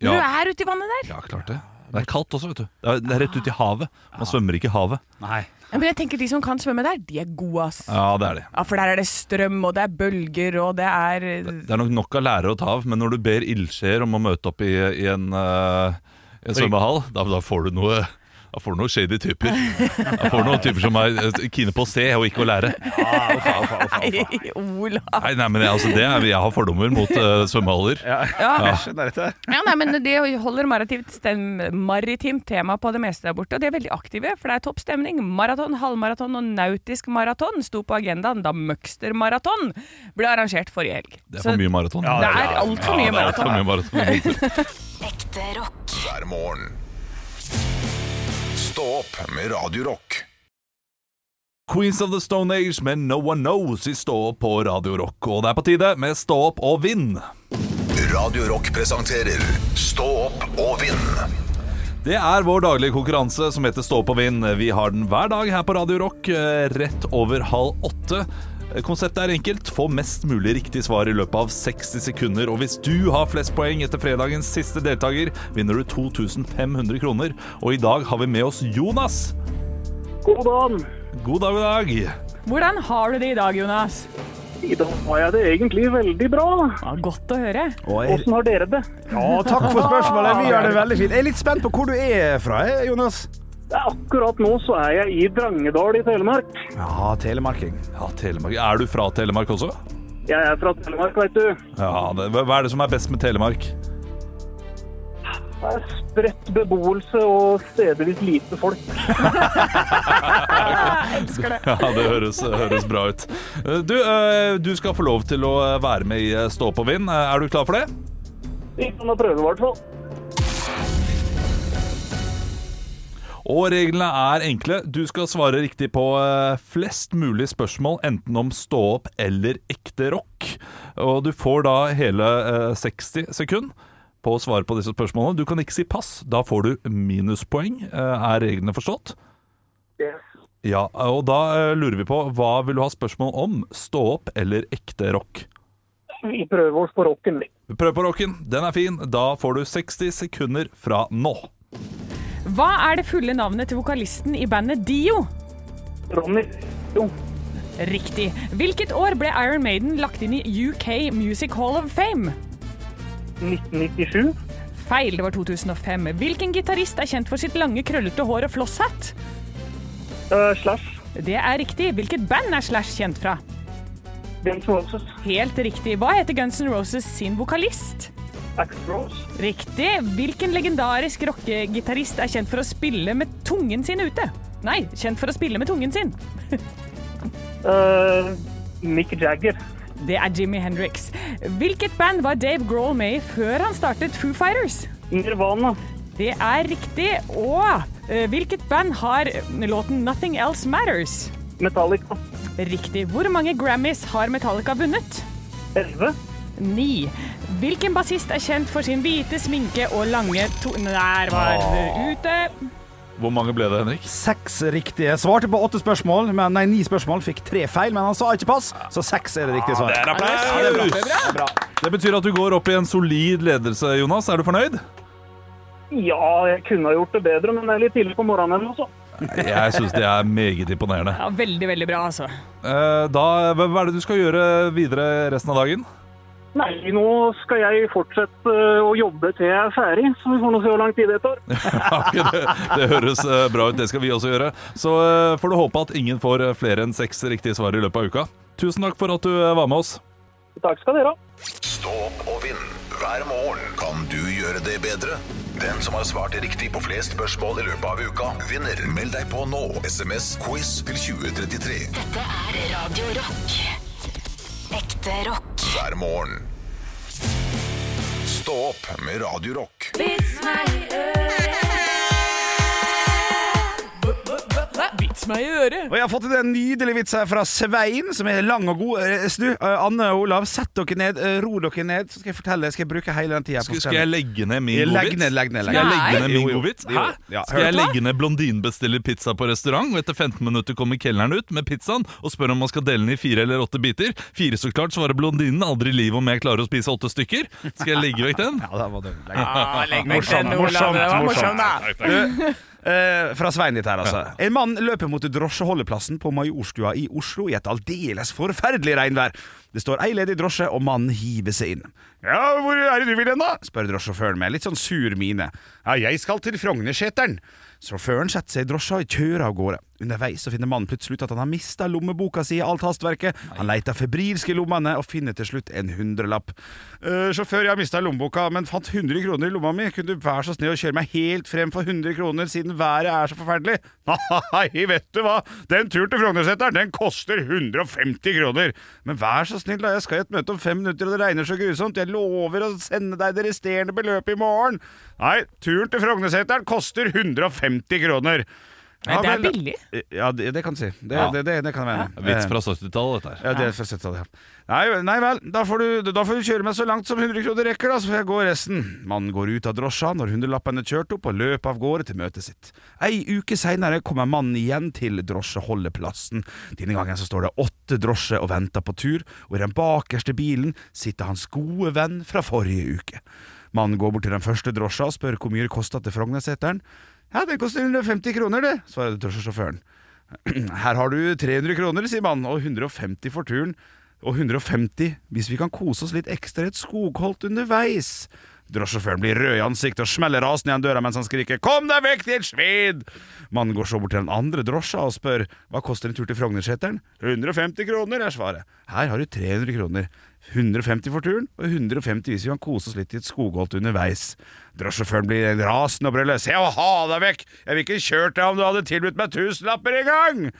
S5: Ja.
S6: Når du er ute i vannet der.
S5: Ja, klart det. Det er kaldt også, vet du. Det er, det er rett ut i havet. Man svømmer ikke i havet.
S4: Nei.
S6: Ja, men jeg tenker De som kan svømme der, de er gode, ass. Ja.
S5: Ja, det er det.
S6: For der er det strøm, og det er bølger, og det er
S5: Det er nok nok av lærere å ta av, men når du ber ildsjeer om å møte opp i, i en, eh, i en svømmehall, da, da får du noe da får du noen shady typer. Da får du noen typer som er eh, kine på å se og ikke å lære.
S6: Nei, Olav.
S5: Nei, nei, men jeg, altså, det er, jeg har fordommer mot eh, svømmehaller.
S4: Jeg skjønner dette.
S6: Ja, nei, men De holder maritimt, stem, maritimt tema på det meste der borte, og de er veldig aktive. For det er topp stemning. Maraton, halvmaraton og nautisk maraton sto på agendaen da Møkstermaraton ble arrangert forrige helg.
S5: Det er for mye maraton.
S6: det er altfor mye
S5: Ja, det er alt for
S6: maraton.
S5: mye maraton.
S7: Ekte rock.
S3: hver morgen. Stå opp med Radio Rock.
S5: Queens of the Stone Age med No One Knows i Stå opp på Radio Rock. Og det er på tide med Stå opp og vinn.
S3: Radio Rock presenterer Stå opp og vinn.
S5: Det er vår daglige konkurranse som heter Stå opp og vinn. Vi har den hver dag her på Radio Rock, eh, rett over halv åtte. Eh, Konseptet er enkelt. Få mest mulig riktig svar i løpet av 60 sekunder. Og hvis du har flest poeng etter fredagens siste deltaker, vinner du 2500 kroner. Og i dag har vi med oss Jonas.
S9: God dag.
S5: God dag, god dag.
S6: Hvordan har du det i dag, Jonas?
S9: I dag har jeg det egentlig veldig bra.
S6: Ja, godt å høre.
S4: Oi.
S9: Hvordan har dere det?
S4: Ja, takk for spørsmålet. Vi gjør det veldig fint. Jeg er litt spent på hvor du er fra, eh, Jonas.
S9: Ja, Akkurat nå så er jeg i Drangedal i Telemark.
S4: Ja, telemarking.
S5: Ja, Telemark. Er du fra Telemark også?
S9: Jeg er fra Telemark, veit du.
S5: Ja, det, Hva er det som er best med Telemark?
S9: Det er spredt beboelse og stedvis lite folk.
S5: Ja, det høres, høres bra ut. Eh, Du, eh, du skal få lov til å eh, være med i eh, Stå opp og vinn. Eh, Er du klar for det?
S9: Vi kan da prøve, i hvert fall.
S5: Og reglene er enkle. Du skal svare riktig på eh, flest mulig spørsmål, enten om stå opp eller ekte rock. Og du får da hele eh, 60 sekund på å svare på disse spørsmålene. Du kan ikke si pass, da får du minuspoeng. Eh, Er reglene forstått?
S9: Yes.
S5: Ja, og da eh, lurer vi på hva vil du ha spørsmål om? Stå opp eller ekte rock?
S9: Vi prøver oss på rocken. vi.
S5: Prøv på rocken, den er fin. Da får du 60 sekunder fra nå.
S6: Hva er det fulle navnet til vokalisten i bandet Dio?
S9: Ronny. Jo,
S6: Riktig. Hvilket år ble Iron Maiden lagt inn i UK Music Hall of Fame?
S9: 1997.
S6: Feil, det var 2005. Hvilken gitarist er kjent for sitt lange, krøllete hår og flosshatt?
S9: Uh, slash.
S6: Det er riktig. Hvilket band er Slash kjent fra?
S9: James Roses.
S6: Helt riktig. Hva heter Guns N' Roses sin vokalist?
S9: Axe Rose.
S6: Riktig. Hvilken legendarisk rockegitarist er kjent for å spille med tungen sin ute? Nei, kjent for å spille med tungen sin.
S9: Uh, Mick Jagger.
S6: Det er Jimmy Hendrix. Hvilket band var Dave Grohl med i før han startet Foo Fighters?
S9: Nirvana.
S6: Det er riktig. Og eh, hvilket band har låten 'Nothing Else Matters'?
S9: Metallica.
S6: Riktig. Hvor mange Grammys har Metallica vunnet?
S9: 11.
S6: Ni. Hvilken bassist er kjent for sin hvite sminke og lange to... Der var det ute.
S5: Hvor mange ble det, Henrik?
S4: Seks riktige. Svarte på åtte spørsmål, men nei, ni spørsmål. Fikk tre feil, men han sa ikke pass, så seks er det riktige svar.
S5: er applaus! Det betyr at du går opp i en solid ledelse, Jonas. Er du fornøyd?
S9: Ja, jeg kunne ha gjort det bedre, men det er litt tidlig på morgenen ennå, så.
S5: Jeg syns det er meget imponerende.
S6: Ja, veldig, veldig bra, altså.
S5: Eh, Da, hva hva er det du skal gjøre videre resten av dagen?
S9: Nei, nå skal jeg fortsette eh, å jobbe til jeg er ferdig, så vi får nå se hvor lang tid det tar.
S5: Ok, det, det høres eh, bra ut, det skal vi også gjøre. Så eh, får du håpe at ingen får eh, flere enn seks riktige svar i løpet av uka. Tusen takk for at du eh, var med oss.
S9: Takk skal dere ha.
S3: Stå opp og vinn hver morgen. Kan du gjøre det bedre? Den som har svart riktig på flest spørsmål i løpet av uka, vinner. Meld deg på nå. SMS quiz til 2033
S7: Dette er Radio Rock. Ekte rock.
S3: hver morgen. Stå opp med Radio Rock.
S6: Vits meg i øret.
S4: Og jeg har fått en nydelig vits her fra Svein, som er lang og god. Eh, Snu, eh, Anne og Olav, sett dere ned, eh, ro dere ned, så skal jeg fortelle. Skal jeg bruke hele den tida på
S5: Skal,
S4: å
S5: skal jeg
S4: fortelle.
S5: legge ned min
S4: Jeg legger
S5: godbit?
S4: ned, legg ned, legg
S5: Skal jeg
S4: ned.
S5: legge ned min
S4: Jo, jo.
S5: godbit?
S4: Jo,
S5: Hæ?
S4: ja.
S5: Skal jeg legge ned blondinen bestiller pizza på restaurant, og etter 15 minutter kommer kelneren ut med pizzaen og spør om man skal dele den i fire eller åtte biter? Fire så klart, svarer blondinen. Aldri i livet om jeg klarer å spise åtte stykker. Skal jeg legge vekk den?
S4: Ah, Ja, da må du legge ned.
S6: Morsomt, morsomt, morsomt.
S4: Du, Eh, fra Svein ditt her, altså. En mann løper mot drosjeholdeplassen på Majorstua i Oslo i et aldeles forferdelig regnvær. Det står ei ledig drosje, og mannen hiver seg inn. Ja, hvor er det du vil hen, da? spør drosjesjåføren med litt sånn sur mine. Ja, jeg skal til Frognerseteren. Sjåføren setter seg i drosja og kjører av gårde. Underveis så finner mannen plutselig ut at han har mista lommeboka si i alt hastverket. Han leter febrilsk i lommene og finner til slutt en hundrelapp. «Eh, sjåfør, jeg har mista lommeboka, men fant 100 kroner i lomma mi. Kunne du være så snill å kjøre meg helt frem for 100 kroner, siden været er så forferdelig? Nei, vet du hva, den turen til Frognerseteren, den koster 150 kroner. Men vær så snill, da, jeg skal i et møte om fem minutter, og det regner så grusomt. Jeg lover å sende deg det resterende beløpet i morgen. Nei, turen til Frognerseteren koster 150 kroner.
S6: Nei, det er
S4: vel-
S6: billig.
S4: Ja, det, det kan du si. Det,
S5: Ja.
S4: det, det, det kan jeg mene.
S5: Vits
S4: Eh,
S5: fra 70-tallet, dette her.
S4: ja, det er fra 70-tallet, ja. Nei, nei vel, da får, du, da får du kjøre meg så langt som 100 kroner rekker, da, så får jeg gå resten. Mannen går ut av drosja når hundrelappen er kjørt opp, og løper av gårde til møtet sitt. Ei uke seinere kommer mannen igjen til drosjeholdeplassen. Denne gangen så står det åtte drosjer og venter på tur, og i den bakerste bilen sitter hans gode venn fra forrige uke. Mannen går bort til den første drosja og spør hvor mye det kosta til Frognerseteren. Ja, det koster 150 kroner, det, svarer drosjesjåføren. Her har du 300 kroner, sier mannen, og 150 for turen. Og 150 hvis vi kan kose oss litt ekstra i et skogholt underveis. Drosjesjåføren blir rød i ansiktet og smeller rasende igjen døra mens han skriker 'Kom deg vekk, ditt svin!' Mannen går så bort til den andre drosja og spør 'Hva koster en tur til Frognerseteren?' 150 kroner, er svaret. Her har du 300 kroner. 150 for turen, og 150 hvis vi kan kose oss litt i et skogholt underveis. Drosjesjåføren blir rasende og brøler 'Se å ha deg vekk! Jeg ville ikke kjørt deg om du hadde tilbudt meg tusenlapper engang!'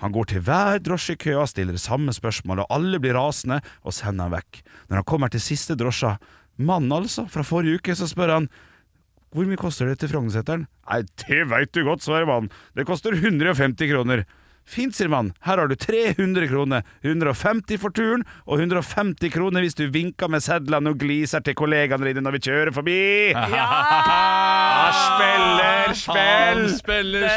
S4: Han går til hver drosje i køa, stiller samme spørsmål, og alle blir rasende og sender han vekk. Når han kommer til siste drosja, mannen altså, fra forrige uke, så spør han hvor mye koster det til Frognerseteren? Nei, det veit du godt, svarer mannen. Det koster 150 kroner. Fint, sier mannen. Her har du 300 kroner. 150 for turen, og 150 kroner hvis du vinker med sedlene og gliser til kollegaene dine når vi kjører forbi. Ah, spiller, spill!
S5: Han spiller
S6: Den er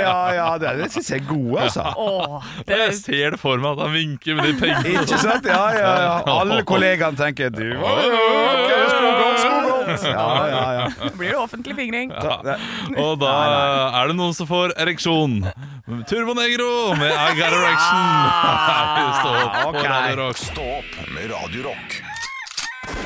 S4: Ja, ja, ja, det, det syns jeg er gode, altså.
S6: Åh, det,
S5: Jeg ser det for meg at han vinker med de pengene.
S4: Ikke sant? Ja, ja, ja. Alle kollegaene tenker du var jo ok, skogholt, skogholt. Ja, ja, ja.
S6: blir det offentlig fingring.
S5: Og da er det noen som får ereksjon. Turbo Negro med I Got Erection. Her vi står på
S4: ok.
S5: Radio Rock.
S3: Stå opp med Radio Rock.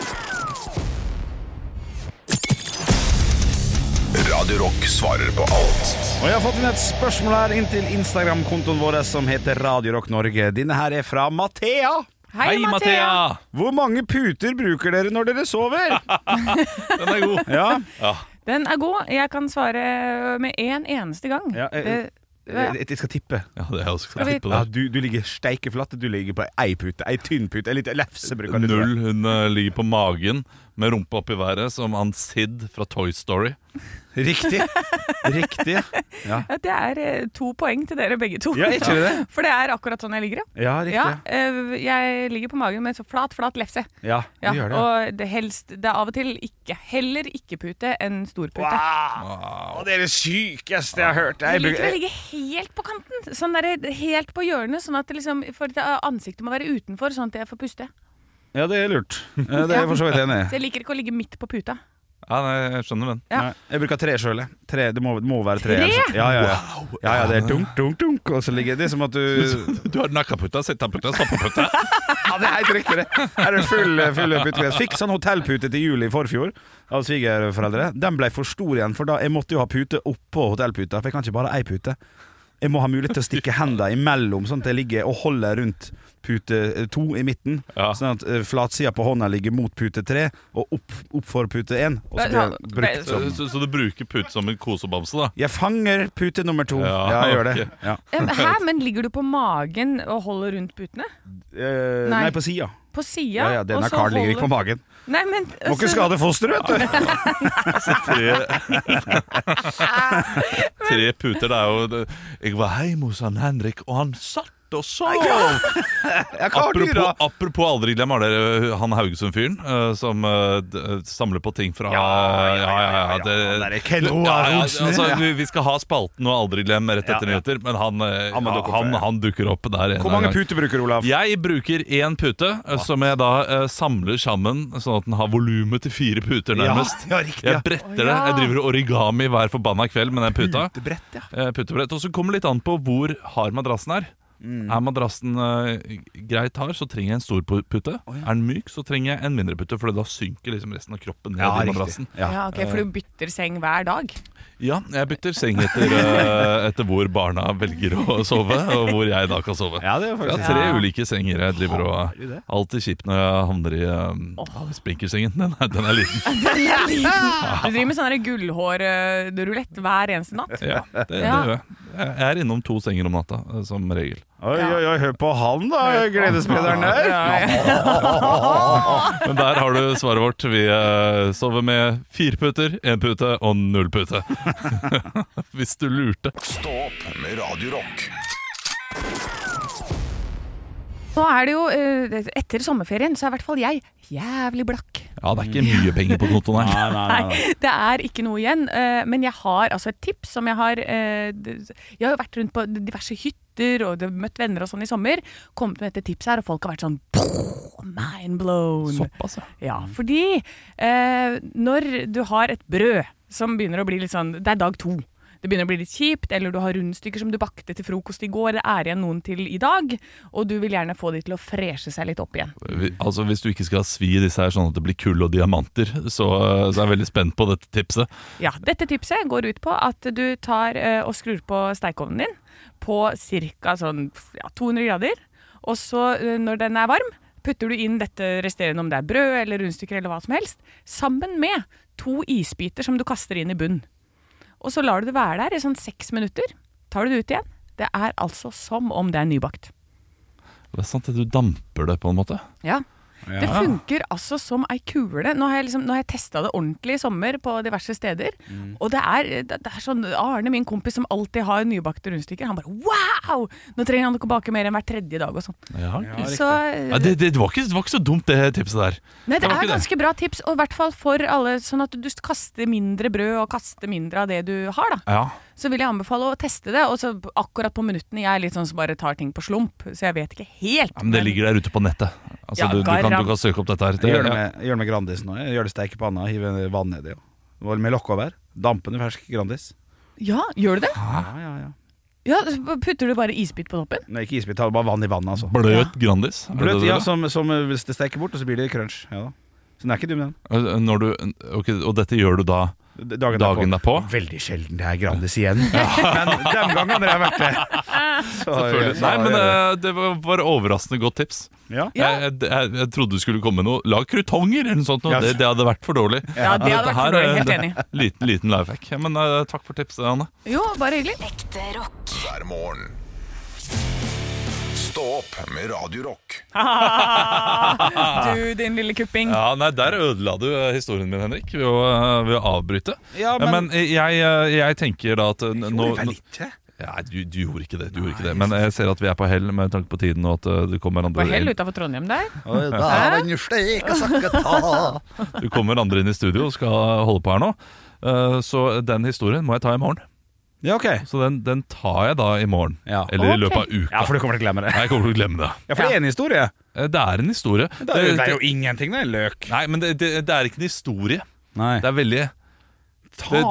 S3: Radio Rock svarer på alt.
S4: Og jeg har fått inn et spørsmål her inn til Instagram-kontoen vår som heter Radio Rock Norge. Denne her er fra Mathea.
S6: Hei, Mathea!
S4: Hvor mange puter bruker dere når dere sover?
S5: Den er god.
S4: Ja,
S6: Den er god. Jeg kan svare med en eneste gang.
S4: Ja, eh,
S6: Eh, ja.
S4: Jeg, jeg skal tippe.
S5: Ja, det er jeg også
S6: Skal
S5: skal
S6: vi-
S5: tippe
S4: Ja,
S5: det.
S4: du, du ligger steikeflatt. Du ligger på ei pute. Ei tynn pute. Ei liten lefse bruker du. tror jeg.
S5: Null. Hun eh, ligger på magen med rumpa opp i været, som han Sid fra Toy Story.
S4: Riktig. Riktig. Ja,
S6: Ja, Det er eh, to poeng til dere begge to.
S4: ja er ikke det det?
S6: For det er akkurat sånn jeg ligger,
S4: Ja,
S6: ja. ja
S4: riktig.
S6: eh, jeg ligger på magen med en så flat, flat lefse.
S4: Ja,
S6: Ja,
S4: du gjør det.
S6: og det helst Det er av og til ikke. Heller ikke pute enn stor pute.
S4: Wow. Det er det sykeste jeg har hørt.
S6: Jeg
S4: Jeg
S6: liker å
S4: bruker,
S6: ligge helt på kanten, sånn der, helt på hjørnet, sånn at det liksom, for at ansiktet må være utenfor, sånn at jeg får puste.
S4: ja, det er lurt. Ja, Det er jeg for så vidt enig i.
S6: Så jeg liker ikke å ligge midt på puta.
S5: Ja, nei, jeg skjønner den.
S6: Ja.
S4: Nei, jeg bruker tre sjøl, jeg. Tre, det, må, det må være tre.
S6: Tre?
S4: altså. Ja, ja, ja. ja, ja det er dunk, dunk, dunk, og så ligger det som at du
S5: Du har nakkaputta, sittaputta, stappaputta.
S4: Ja, det er helt riktig, det. Her er det full, eh, full putekveld. Fikk sånn hotellpute til jul i forfjor av svigerforeldre. Den ble for stor igjen, for da jeg måtte jo ha pute oppå hotellputa, for jeg kan ikke bare ha ei pute. Jeg må ha mulighet til å stikke hendene imellom, sånn at jeg ligger og holder rundt pute eh, to i midten.
S5: Ja.
S4: Sånn at eh, flatsida på hånda ligger mot pute tre, og opp, opp for pute én. Og så blir den brukt
S5: Så,
S4: som
S5: så, så du bruker pute som en kosebamse, da?
S4: Jeg fanger pute nummer to. Ja,
S5: Ja,
S4: jeg gjør det.
S5: ok.
S4: Ja.
S6: Em, Eh, Hæ, men ligger du på magen og holder rundt putene?
S4: Eh,
S6: Nei.
S4: nei. på sida.
S6: På sida?
S4: Ja, ja, denne
S6: og så
S4: karen ligger
S6: holder-
S4: ikke på magen.
S6: Nei, men altså,
S4: Må ikke skade fosteret, vet du.
S5: Tre, tre puter, det er jo det- Jeg var hjemme hos han Henrik, og han satt ute og sov!
S4: Jeg kan du,
S5: Apropos,
S4: da?
S5: apropos aldri glem har dere han Haugesund-fyren eh, som eh, d- eh, samler på ting fra
S4: Ja, ja, ja, ja, ja,
S5: det-
S4: ja, han der er Ken Roar Olsen,
S5: altså,
S4: ja.
S5: vi- Vi skal ha spalten og aldri glem rett
S4: Ja,
S5: etter
S4: ja.
S5: nyheter, men han, eh,
S4: Han må dukke opp,
S5: han,
S4: ja.
S5: han dukker opp der. en
S4: Hvor mange
S5: gang.
S4: puter bruker du, Olav?
S5: Jeg bruker én pute, eh, som jeg da eh, samler sammen sånn at den har volumet til fire puter,
S4: Ja,
S5: nærmest.
S4: ja, riktig, ja.
S5: Jeg bretter
S6: Å,
S5: det.
S6: ja.
S5: Jeg driver origami hver forbanna kveld med den puta.
S4: Putebrett, ja.
S5: Eh, Putebrett. Og så kommer det litt an på hvor hard madrassen er.
S4: Mm.
S5: Er madrassen eh, greit hard, så trenger jeg en stor pu- pute. Er den myk, så trenger jeg en mindre pute, for da synker liksom resten av kroppen ned i madrassen.
S4: Ja.
S6: Ja, ok, For du bytter seng hver dag?
S5: Ja, jeg bytter seng etter, eh, etter hvor barna velger å sove, og hvor jeg da kan sove.
S4: Ja, det er
S5: Jeg
S4: faktisk
S5: har tre ulike senger jeg driver og
S4: Har du det?
S5: Alltid kjipt når jeg havner i um, ja, sprinkersengen. Den er, den er liten.
S6: Du driver med sånn gullhårrulett hver eneste natt?
S5: Ja, det, det
S6: Ja.
S5: gjør jeg. Jeg er innom to senger om natta, eh, som regel.
S4: Oi, oi, oi, hør på han, da, gledesspilleren der.
S5: Men der har du svaret vårt. Vi eh, sover med fire puter, én pute og null pute. Hvis du lurte.
S3: Stå opp med Radio Rock.
S6: Nå er det jo, eh, etter sommerferien, så er i hvert fall jeg jævlig blakk.
S5: Ja, det er ikke mye penger på kontoen her.
S6: Nei, det er ikke noe igjen. eh, Men jeg har altså et tips som jeg har eh, d- Jeg har jo vært rundt på diverse hytter og det- møtt venner og sånn i sommer. Kommet med dette tipset her, og folk har vært sånn Mind blown.
S5: Såpass, ja.
S6: Ja, fordi eh, når du har et brød som begynner å bli litt sånn Det er dag to. Det begynner å bli litt kjipt, eller du har rundstykker som du bakte til frokost i går, det er igjen noen til i dag, og du vil gjerne få de til å freshe seg litt opp igjen.
S5: Vi- Altså, Hvis du ikke skal svi i disse her sånn at det blir kull og diamanter, så, eh, så er jeg veldig spent på dette tipset.
S6: Ja, Dette tipset går ut på at du tar eh, og skrur på stekeovnen din på ca. Sånn, ja, 200 grader. Og så, eh, når den er varm, putter du inn dette resterende, om det er brød eller rundstykker eller hva som helst, sammen med to isbiter som du kaster inn i bunnen. Og så lar du det være der i sånn seks minutter. Tar du det ut igjen. Det er altså som om det er nybakt.
S5: Det er sant, det, du damper det på en måte.
S6: Ja. Det funker altså som ei kule. Nå har jeg, liksom, nå har jeg testa det ordentlig i sommer på diverse steder.
S5: Mm.
S6: Og det er, det det er sånn Arne, min kompis som alltid har nybakte rundstykker, han bare wow! Nå trenger han ikke bake mer enn hver tredje dag og sånn.
S5: Ja, ja.
S6: Så
S5: Ja, det, det, var ikke, det var ikke så dumt, det tipset der.
S6: Nei, det
S5: var
S6: er
S5: ikke
S6: ganske bra tips, og i hvert fall for alle, sånn at du kaster mindre brød og kaster mindre av det du har, da.
S5: Ja.
S6: Så vil jeg anbefale å teste det. Og så akkurat på minuttene jeg er litt sånn som bare tar ting på slump, så jeg vet ikke helt.
S5: Men det ligger der ute på nettet. Altså,
S6: Ja,
S5: du, du, kan, du
S6: garam.
S5: kan søke opp dette her.
S4: Jeg gjør det med, jeg gjør det med Grandis nå. Jeg gjør det steikepanna, hiver vann nedi. og- Med lokk over. Dampende fersk Grandis.
S6: Ja, gjør du det?
S4: Ja, ja, ja.
S6: Ja, så Putter du bare isbit på toppen?
S4: Nei, ikke isbit, ta bare vann i vannet, altså.
S5: Bløt Grandis. er det det
S4: Bløt,
S5: du
S4: ja,
S5: vil?
S4: som, som hvis det steker bort, og så blir det crunch. Ja da. Så den er ikke dum, den.
S5: Altså, Når du, ok, og dette gjør du da
S4: D-
S5: dagen derpå?
S4: Veldig sjelden det er Grandis igjen. Men den gangen har jeg vært det. Så, så-
S5: Nei, men eh, det var var overraskende godt tips.
S4: ja.
S6: Ja.
S5: Jeg, jeg, jeg, jeg trodde det skulle komme noe. Lag krutonger eller noe sånt. Noe.
S4: Ja.
S5: Det, det hadde vært for dårlig.
S6: Ja, det hadde
S5: Dette
S6: vært for dårlig, helt
S5: eh,
S6: enig.
S5: det- Liten, liten life hack. Men eh, takk for tipset, Anne.
S6: Jo, bare hyggelig.
S7: Ekte rock.
S3: hver morgen. Stå opp med Radio Rock.
S6: Du, din lille kupping.
S5: Ah. Ja, nei, Der ødela du eh, historien min, Henrik, ved å, eh, ved å avbryte.
S4: Ja,
S5: men
S4: men-
S5: jeg, eh, jeg tenker da at eh,
S4: Jo,
S5: nå,
S4: det er
S5: nå,
S4: litt.
S5: Nei, du, du gjorde ikke det. du gjorde ikke det Men jeg ser at vi er på hell med tanke på tiden. Og at eh, det kommer andre
S6: Var hell
S5: inn
S6: utafor Trondheim der.
S5: Du kommer andre inn i studio og skal holde på her nå. Eh, Så den historien må jeg ta i morgen.
S4: Ja, ok.
S5: Så den, den tar jeg da i morgen.
S4: Ja.
S5: Eller i
S6: Ok.
S5: løpet av uka.
S4: Ja, for du kommer til å glemme det.
S5: Nei, Jeg kommer til å glemme det.
S4: Ja, for det er en historie.
S5: Eh, Det er en historie.
S4: Det er jo, det er jo
S5: det-
S4: ingenting, det er løk.
S5: nei, men det, det, det er ikke en historie.
S4: Nei.
S5: Det er veldig det,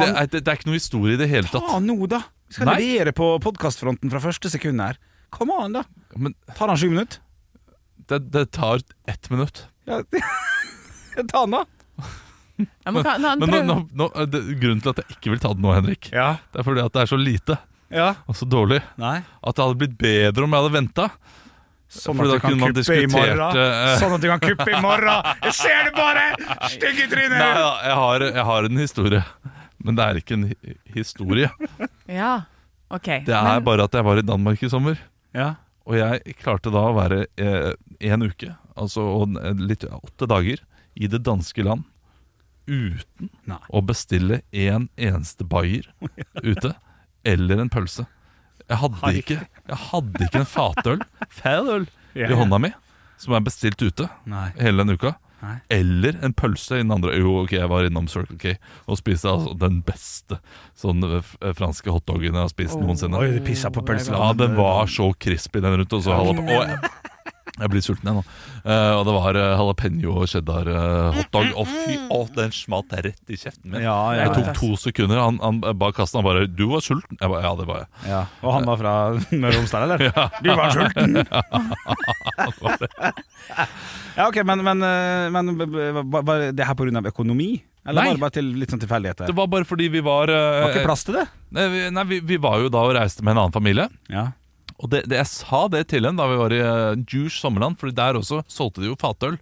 S5: det, er, det er ikke noe historie i det hele tatt.
S4: Ta nå, da! Vi skal
S5: Nei.
S4: levere på podkastfronten fra første sekund her. Come on, da!
S5: Men
S4: Tar han sju minutter?
S5: det, det tar ett minutt.
S4: Ja. Ta han, da!
S6: Ja, men, kan,
S5: Men
S6: han
S5: nå,
S6: prøv-
S5: nå, nå, eh, det, grunnen til at jeg ikke vil ta det nå, Henrik,
S4: Ja.
S5: det er fordi at det er så lite
S4: ja.
S5: og så dårlig
S4: Nei.
S5: at det hadde blitt bedre om jeg hadde venta.
S4: Sånn
S5: For
S4: at
S5: da
S4: du kan
S5: kunne man
S4: kuppe i morgen.
S5: diskutert, eh,
S4: Sånn at du kan kuppe i morgen! Jeg ser det bare! Stygge
S5: Nei,
S4: trynet!
S5: ja, jeg har, jeg har en historie, men det er ikke en hi- historie.
S6: Ja, ok.
S5: Det er
S6: men,
S5: bare at jeg var i Danmark i sommer,
S4: Ja.
S5: og jeg klarte da å være eh, en uke, altså og en- litt åtte dager, i det danske land uten
S4: Nei.
S5: å bestille en eneste bayer ute, eller en pølse. Jeg hadde ikke, jeg hadde ikke en fatøl Fatøl
S4: Ja.
S5: i hånda mi, som er bestilt ute
S4: Nei.
S5: hele den uka.
S4: Nei.
S5: Eller en pølse i den andre. Jo, ok, jeg var innom Circle K og spiste altså den beste sånn eh, f- eh, franske hotdoggen jeg har spist noensinne.
S4: Oi, du pissa på pølselaven.
S5: Ja, den var så crispy den rundt. Og så jalap- Å, jeg, jeg blir sulten igjen nå. Eh, og det var uh, jalapeño og cheddar eh, hotdog. Og fy, å, den smalt rett i kjeften min.
S4: Ja, ja,
S5: jeg tok
S4: ja.
S5: to sekunder. Han, han bak kassen han bare 'Du var sulten?' Jeg bare, ja, det var jeg.
S4: Ja. Og han var fra Møre og Romsdal, eller? Du var sulten! ja, ok, men, men, eh, men b- b- var var det her pga. økonomi? Eller
S5: Nei.
S4: var det bare til litt sånn tilfeldigheter?
S5: Det
S4: Det
S5: var bare fordi vi var eh,
S4: var ikke plass til det?
S5: Nei, vi, nei vi, vi var jo da og reiste med en annen familie.
S4: Ja.
S5: Og det, det, jeg sa det til henne da vi var i uh, Juice sommerland, Fordi der også solgte de jo fatøl.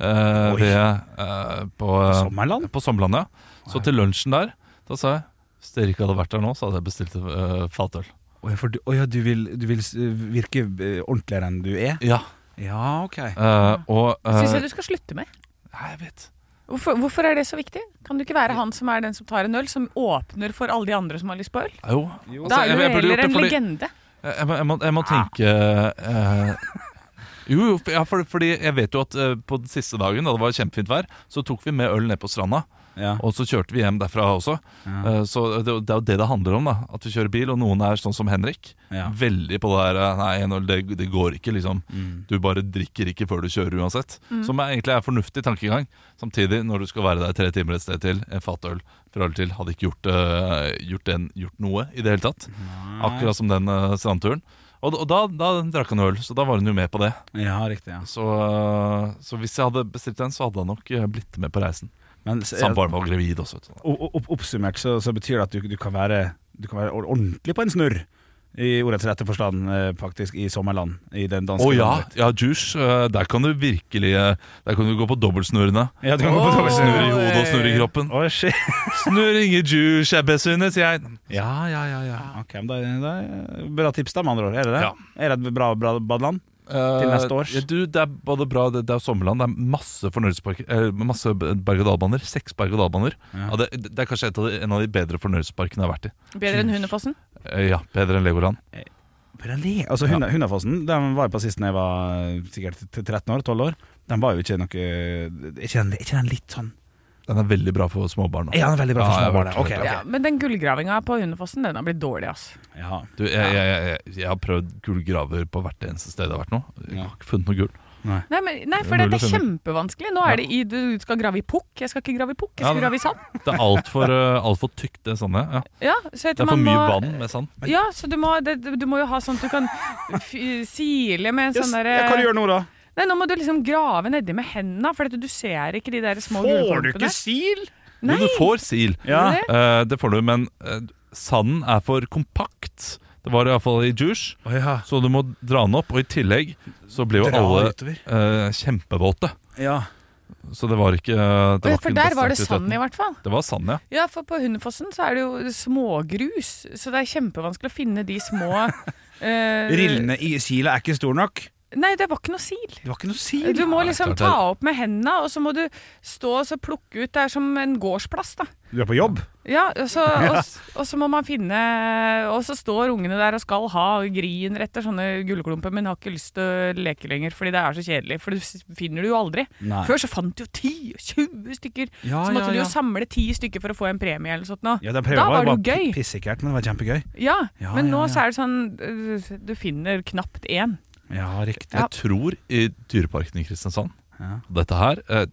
S5: eh,
S4: Oi.
S5: ved, eh, på, eh,
S4: Sommerland?
S5: På sommerland, ja. Så til lunsjen der, da sa jeg hvis dere ikke hadde vært der nå, så hadde jeg bestilt eh, fatøl.
S4: Å ja, for du, å ja, du vil, du vil s- virke eh, ordentligere enn du er?
S5: Ja,
S4: Ja, ok.
S5: eh, og eh,
S6: Syns jeg du skal slutte med.
S5: Nei, jeg vet.
S6: Hvorfor, hvorfor er det så viktig? Kan du ikke være han som er den som tar en øl, som åpner for alle de andre som har lyst på øl?
S5: Jo. altså,
S6: Da er
S5: jeg-
S6: du
S5: jeg burde gjort
S6: heller
S5: det
S6: en
S5: fordi-
S6: legende.
S5: Jeg, jeg, må- jeg, må, jeg må tenke eh, Jo, jo, for, ja, for, fordi jeg vet jo at eh, på den siste dagen, da det var kjempefint vær, så tok vi med øl ned på stranda.
S4: Ja.
S5: Og så kjørte vi hjem derfra også. Eh, Så det, det er jo det det handler om. da At vi kjører bil, og noen er sånn som Henrik.
S4: Ja.
S5: Veldig på det der eh, Nei, en øl, det, det går ikke, liksom.
S4: Mm.
S5: Du bare drikker ikke før du kjører uansett. Som er, egentlig er fornuftig tankegang. Samtidig, når du skal være der tre timer et sted til, en fatøl fra eller til, hadde ikke gjort, eh, gjort, den, gjort noe i det hele
S4: eh,
S5: tatt. Akkurat som den eh, strandturen. Og, og da, da drakk han øl, så da var hun jo med på det.
S4: ja, riktig. ja
S5: Så, eh, så hvis jeg hadde bestilt den, så hadde han nok eh, blitt med på reisen.
S4: Men s-
S5: Samboeren var gravid også. vet du.
S4: o- o- opp- oppsummert så, så betyr det at du, du, kan være, du kan være or- ordentlig på en snurr, i ordets rette forstand, eh, faktisk, i sommerland. I den danske
S5: Å ja,
S4: landet.
S5: ja, juice. eh, Der kan du virkelig eh, Der kan du gå på dobbeltsnurrene.
S4: Ja, du kan gå på
S5: Snurre i
S4: dobbeltsnurr.
S5: hodet og snurre i kroppen.
S4: Å, shit.
S5: Snurr ingen juice, jeg besunnes jeg.
S4: Ja, ja, ja, ja. Ok, men det er, det er bra tips da, med andre ord. Er det det?
S5: Ja.
S4: Er det et bra, bra badeland? Til neste års.
S5: Eh, Du, det er både bra, det, det er sommerland, det er masse fornøyelsesparker. eh, Masse berg-og-dal-baner. Seks berg-og-dal-baner. Ja. det, det er kanskje et av de, en av de bedre fornøyelsesparkene jeg har vært i.
S6: Bedre enn Hundefossen.
S5: Eh, Ja, Bedre enn Legoland.
S4: Brale. Altså, Hunda- Hundafossen den var jeg på sist da jeg var eh, sikkert t- 13 år, 12 år. Den var jo ikke noe Er ikke den, er ikke den litt sånn
S5: Den er veldig bra for småbarn. da.
S4: Ja, den er veldig bra for
S5: Ja, jeg har
S4: småbarn.
S5: vært-
S4: Ok, ok.
S6: Ja, men den gullgravinga på Hundefossen, den har blitt dårlig, ass.
S4: Ja.
S5: Du, jeg, jeg, jeg, jeg har prøvd gullgraver på hvert eneste sted jeg har vært nå. Jeg
S4: Ja.
S5: har ikke funnet noe gull.
S6: Nei, men, nei
S5: Det er
S6: for det,
S5: mulig
S6: det
S5: å
S6: er
S5: finne.
S6: kjempevanskelig. Nå er det i Du skal grave i pukk. Jeg skal ikke grave i pukk, jeg
S5: Ja,
S6: skal
S5: det-
S6: grave i sand.
S5: Det er altfor alt tykt, det sandet. Ja.
S6: Ja, så jeg
S5: Det
S6: tror
S5: er for mye
S6: man må,
S5: vann med sand.
S6: Ja, så du må, det, du må jo ha sånn at du kan f sile med en
S4: Yes,
S6: sånn
S4: ja, hva du
S6: derre
S4: gjør nå, da?
S6: Nei, nå må du liksom grave nedi med hendene, for at du ser ikke de der små
S4: Får du
S6: gullklumpene.
S4: ikke sil?
S5: Jo, du får sil.
S4: Ja.
S6: Det?
S5: Eh, det får du, men eh, sanden er for kompakt. Det var det iallfall i Juice.
S4: Å ja.
S5: Så du må dra den opp, og i tillegg så ble jo
S4: Dra
S5: alle
S4: utover.
S5: eh, kjempevåte.
S4: ja.
S5: Så det var ikke eh, det
S6: Ja,
S5: var
S6: for
S5: ikke den
S6: der
S5: beste
S6: var det sand, i
S5: aktiviteten.
S6: hvert fall.
S5: Det var sand, ja.
S6: Ja, for på Hundefossen så er det jo smågrus, så det er kjempevanskelig å finne de små eh,
S4: Rillene i sila er ikke stor nok.
S6: Nei, det var ikke noe sil.
S4: Det var ikke noe sil.
S6: Du må
S5: Nei,
S6: liksom
S5: klart det.
S6: ta opp med hendene, og så må du stå og så plukke ut. Det er som en gårdsplass, da.
S4: Du er på jobb?
S6: Ja, og så, og, s- og så må man finne Og så står ungene der og skal ha grien etter sånne gullklumper, men har ikke lyst til å leke lenger fordi det er så kjedelig. For du s- finner det jo aldri.
S4: Nei.
S6: Før så fant du jo 10-20 stykker.
S4: Ja,
S6: så måtte
S4: ja,
S6: du
S4: ja.
S6: jo samle 10 stykker for å få en premie eller sånt noe.
S4: Ja, den prøven
S6: da var det jo
S4: bare
S6: gøy.
S4: pi- Pissekært, men det var kjempegøy.
S6: Ja,
S4: Ja,
S6: men
S4: ja,
S6: nå
S4: ja.
S6: så er det sånn øh, Du finner knapt én.
S4: Ja, riktig.
S6: Ja.
S5: Jeg tror i Dyreparken i Kristiansand
S4: Ja.
S5: Dette her eh,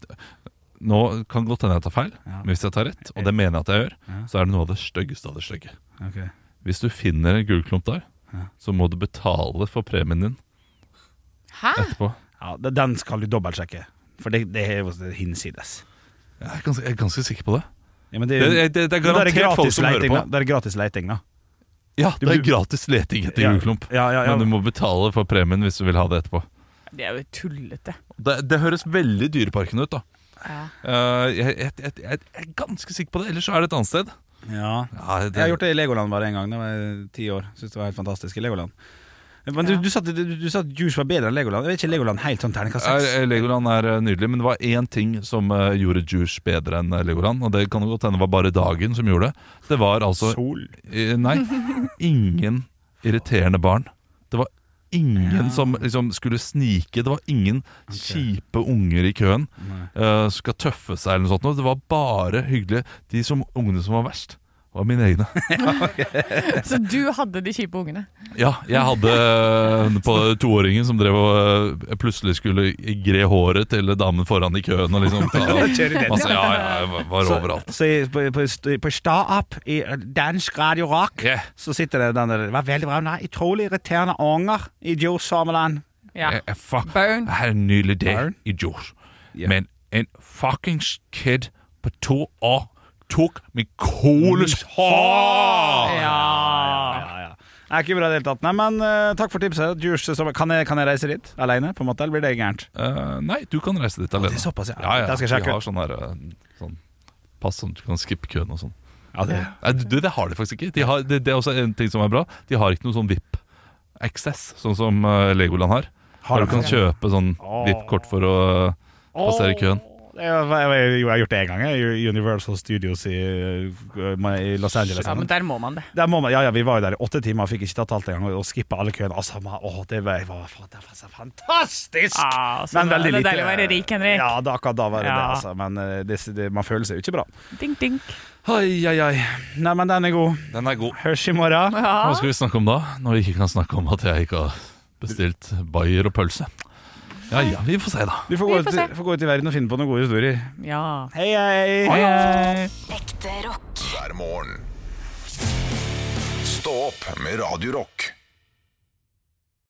S5: Nå kan godt hende jeg tar feil,
S4: Ja.
S5: men hvis jeg tar rett, og det mener jeg at jeg gjør,
S4: Ja.
S5: så er det noe av det styggeste av det stygge.
S4: Ok.
S5: Hvis du finner en gullklump der,
S4: Ja.
S5: så må du betale for premien din
S6: Hæ?
S5: etterpå.
S4: Ja, de- Den skal du dobbeltsjekke, for det, det er jo hinsides.
S5: Jeg er ganske, jeg er ganske sikker på det.
S4: Ja, men
S5: Det, det, det, det er
S4: Men da er det
S5: garantert folk
S4: gratis
S5: som hører
S4: leiting,
S5: på.
S4: da. Det er gratis leiting, da.
S5: Ja,
S4: Du
S5: det er
S4: blir-
S5: gratis leting etter
S4: Ja.
S5: gullklump.
S4: Ja, ja, ja.
S5: Men du må betale for premien hvis du vil ha det etterpå.
S6: Det er jo tullete.
S5: Det, det høres veldig Dyreparken ut, da.
S6: Ja.
S5: Eh, jeg, jeg, jeg, jeg er ganske sikker på det. Ellers så er det et annet sted.
S4: Ja.
S5: Ja, det,
S4: Jeg har gjort det i Legoland bare én gang. Da var jeg ti år. Syns det var helt fantastisk i Legoland. Men du,
S6: Ja.
S4: du, sa, at- du, du sa at Juice var bedre enn Legoland. Er ikke Legoland helt sånn terningkast seks?
S5: Er- Legoland er eh, nydelig, men det var én ting som eh, gjorde Juice bedre enn eh, Legoland. Og det kan jo godt hende var bare dagen som gjorde det. Det var altså
S4: Sol.
S5: eh, Nei, ingen irriterende barn. Det var ingen som liksom skulle snike. Det var ingen kjipe unger i køen eh, som skal tøffe seg eller noe sånt. noe. Det var bare hyggelige. De som, ungene som var verst, var mine egne.
S6: Så du hadde de kjipe ungene.
S5: Ja, jeg hadde eh, på toåringen som drev og eh, plutselig skulle gre håret til damen foran i køen og liksom ta
S4: Kjører
S6: Altså,
S4: den,
S5: masse, Ja, ja, jeg var- var overalt.
S4: Så i- på, på, på Startup i eh, dansk radio rock
S5: Yeah.
S4: så sitter det den der Det var veldig bra. Nei, utrolig irriterende unger i Johs Sameland.
S6: Ja.
S4: Eh,
S5: Jeg, jeg, fuck,
S6: Burn.
S5: jeg hadde en nylig dag
S4: Burn.
S5: i Jors.
S4: Ja.
S5: Men en fuckings kid på to år tok min kones hår!
S4: Ja, ja. Det er ikke bra i det hele tatt. Nei, men eh, takk for tipset. Djurs sesong- kan, jeg, kan jeg reise dit aleine, på en måte, eller blir det gærent?
S5: Eh, nei, du kan reise dit alene.
S4: det er såpass, ja.
S5: ja,
S4: Da skal jeg sjekke ut.
S5: Vi har sånn, her, eh, sånn pass som du kan skippe køen og sånn.
S4: Ja, det,
S5: Nei, du, det har de faktisk ikke. De har, det, det er også en ting som er bra. De har ikke noe sånn VIP-access, sånn som eh, Legoland har.
S4: Har
S5: Der
S4: de
S5: du kan
S4: det?
S5: kjøpe sånn VIP-kort for å eh, passere køen.
S4: Det var- jeg, jo, jeg har gjort det én gang. Jeg, Universal Studios i, eh, i Los Angeles.
S6: ja, men der må man det.
S4: Der må man, ja, ja, Vi var jo der i åtte timer og fikk ikke tatt alt engang. Og skippa alle køene. Altså, man, å, det var, det var, det var så fantastisk!
S6: Ah, så det- det er deilig å være rik, Henrik.
S4: eh, Ja, da, akkurat da var det det,
S6: Ja.
S4: altså. Men eh, det, det, man føler seg jo ikke bra.
S6: Dink, dink.
S4: Oi, oi, oi. Nei, men den er god.
S5: Den er god.
S4: Hørs i morgen.
S5: Hva skal vi snakke om da, når vi ikke kan snakke om at jeg ikke har bestilt bayer og pølse? Ja ja, vi får se, da.
S4: Du får gå,
S6: Vi får
S4: ut,
S6: se.
S4: får gå ut i verden og finne på noen gode historier.
S6: Ja.
S4: Hei, hei!
S7: Ekte rock.
S3: hver morgen. Stå opp med Radio Rock.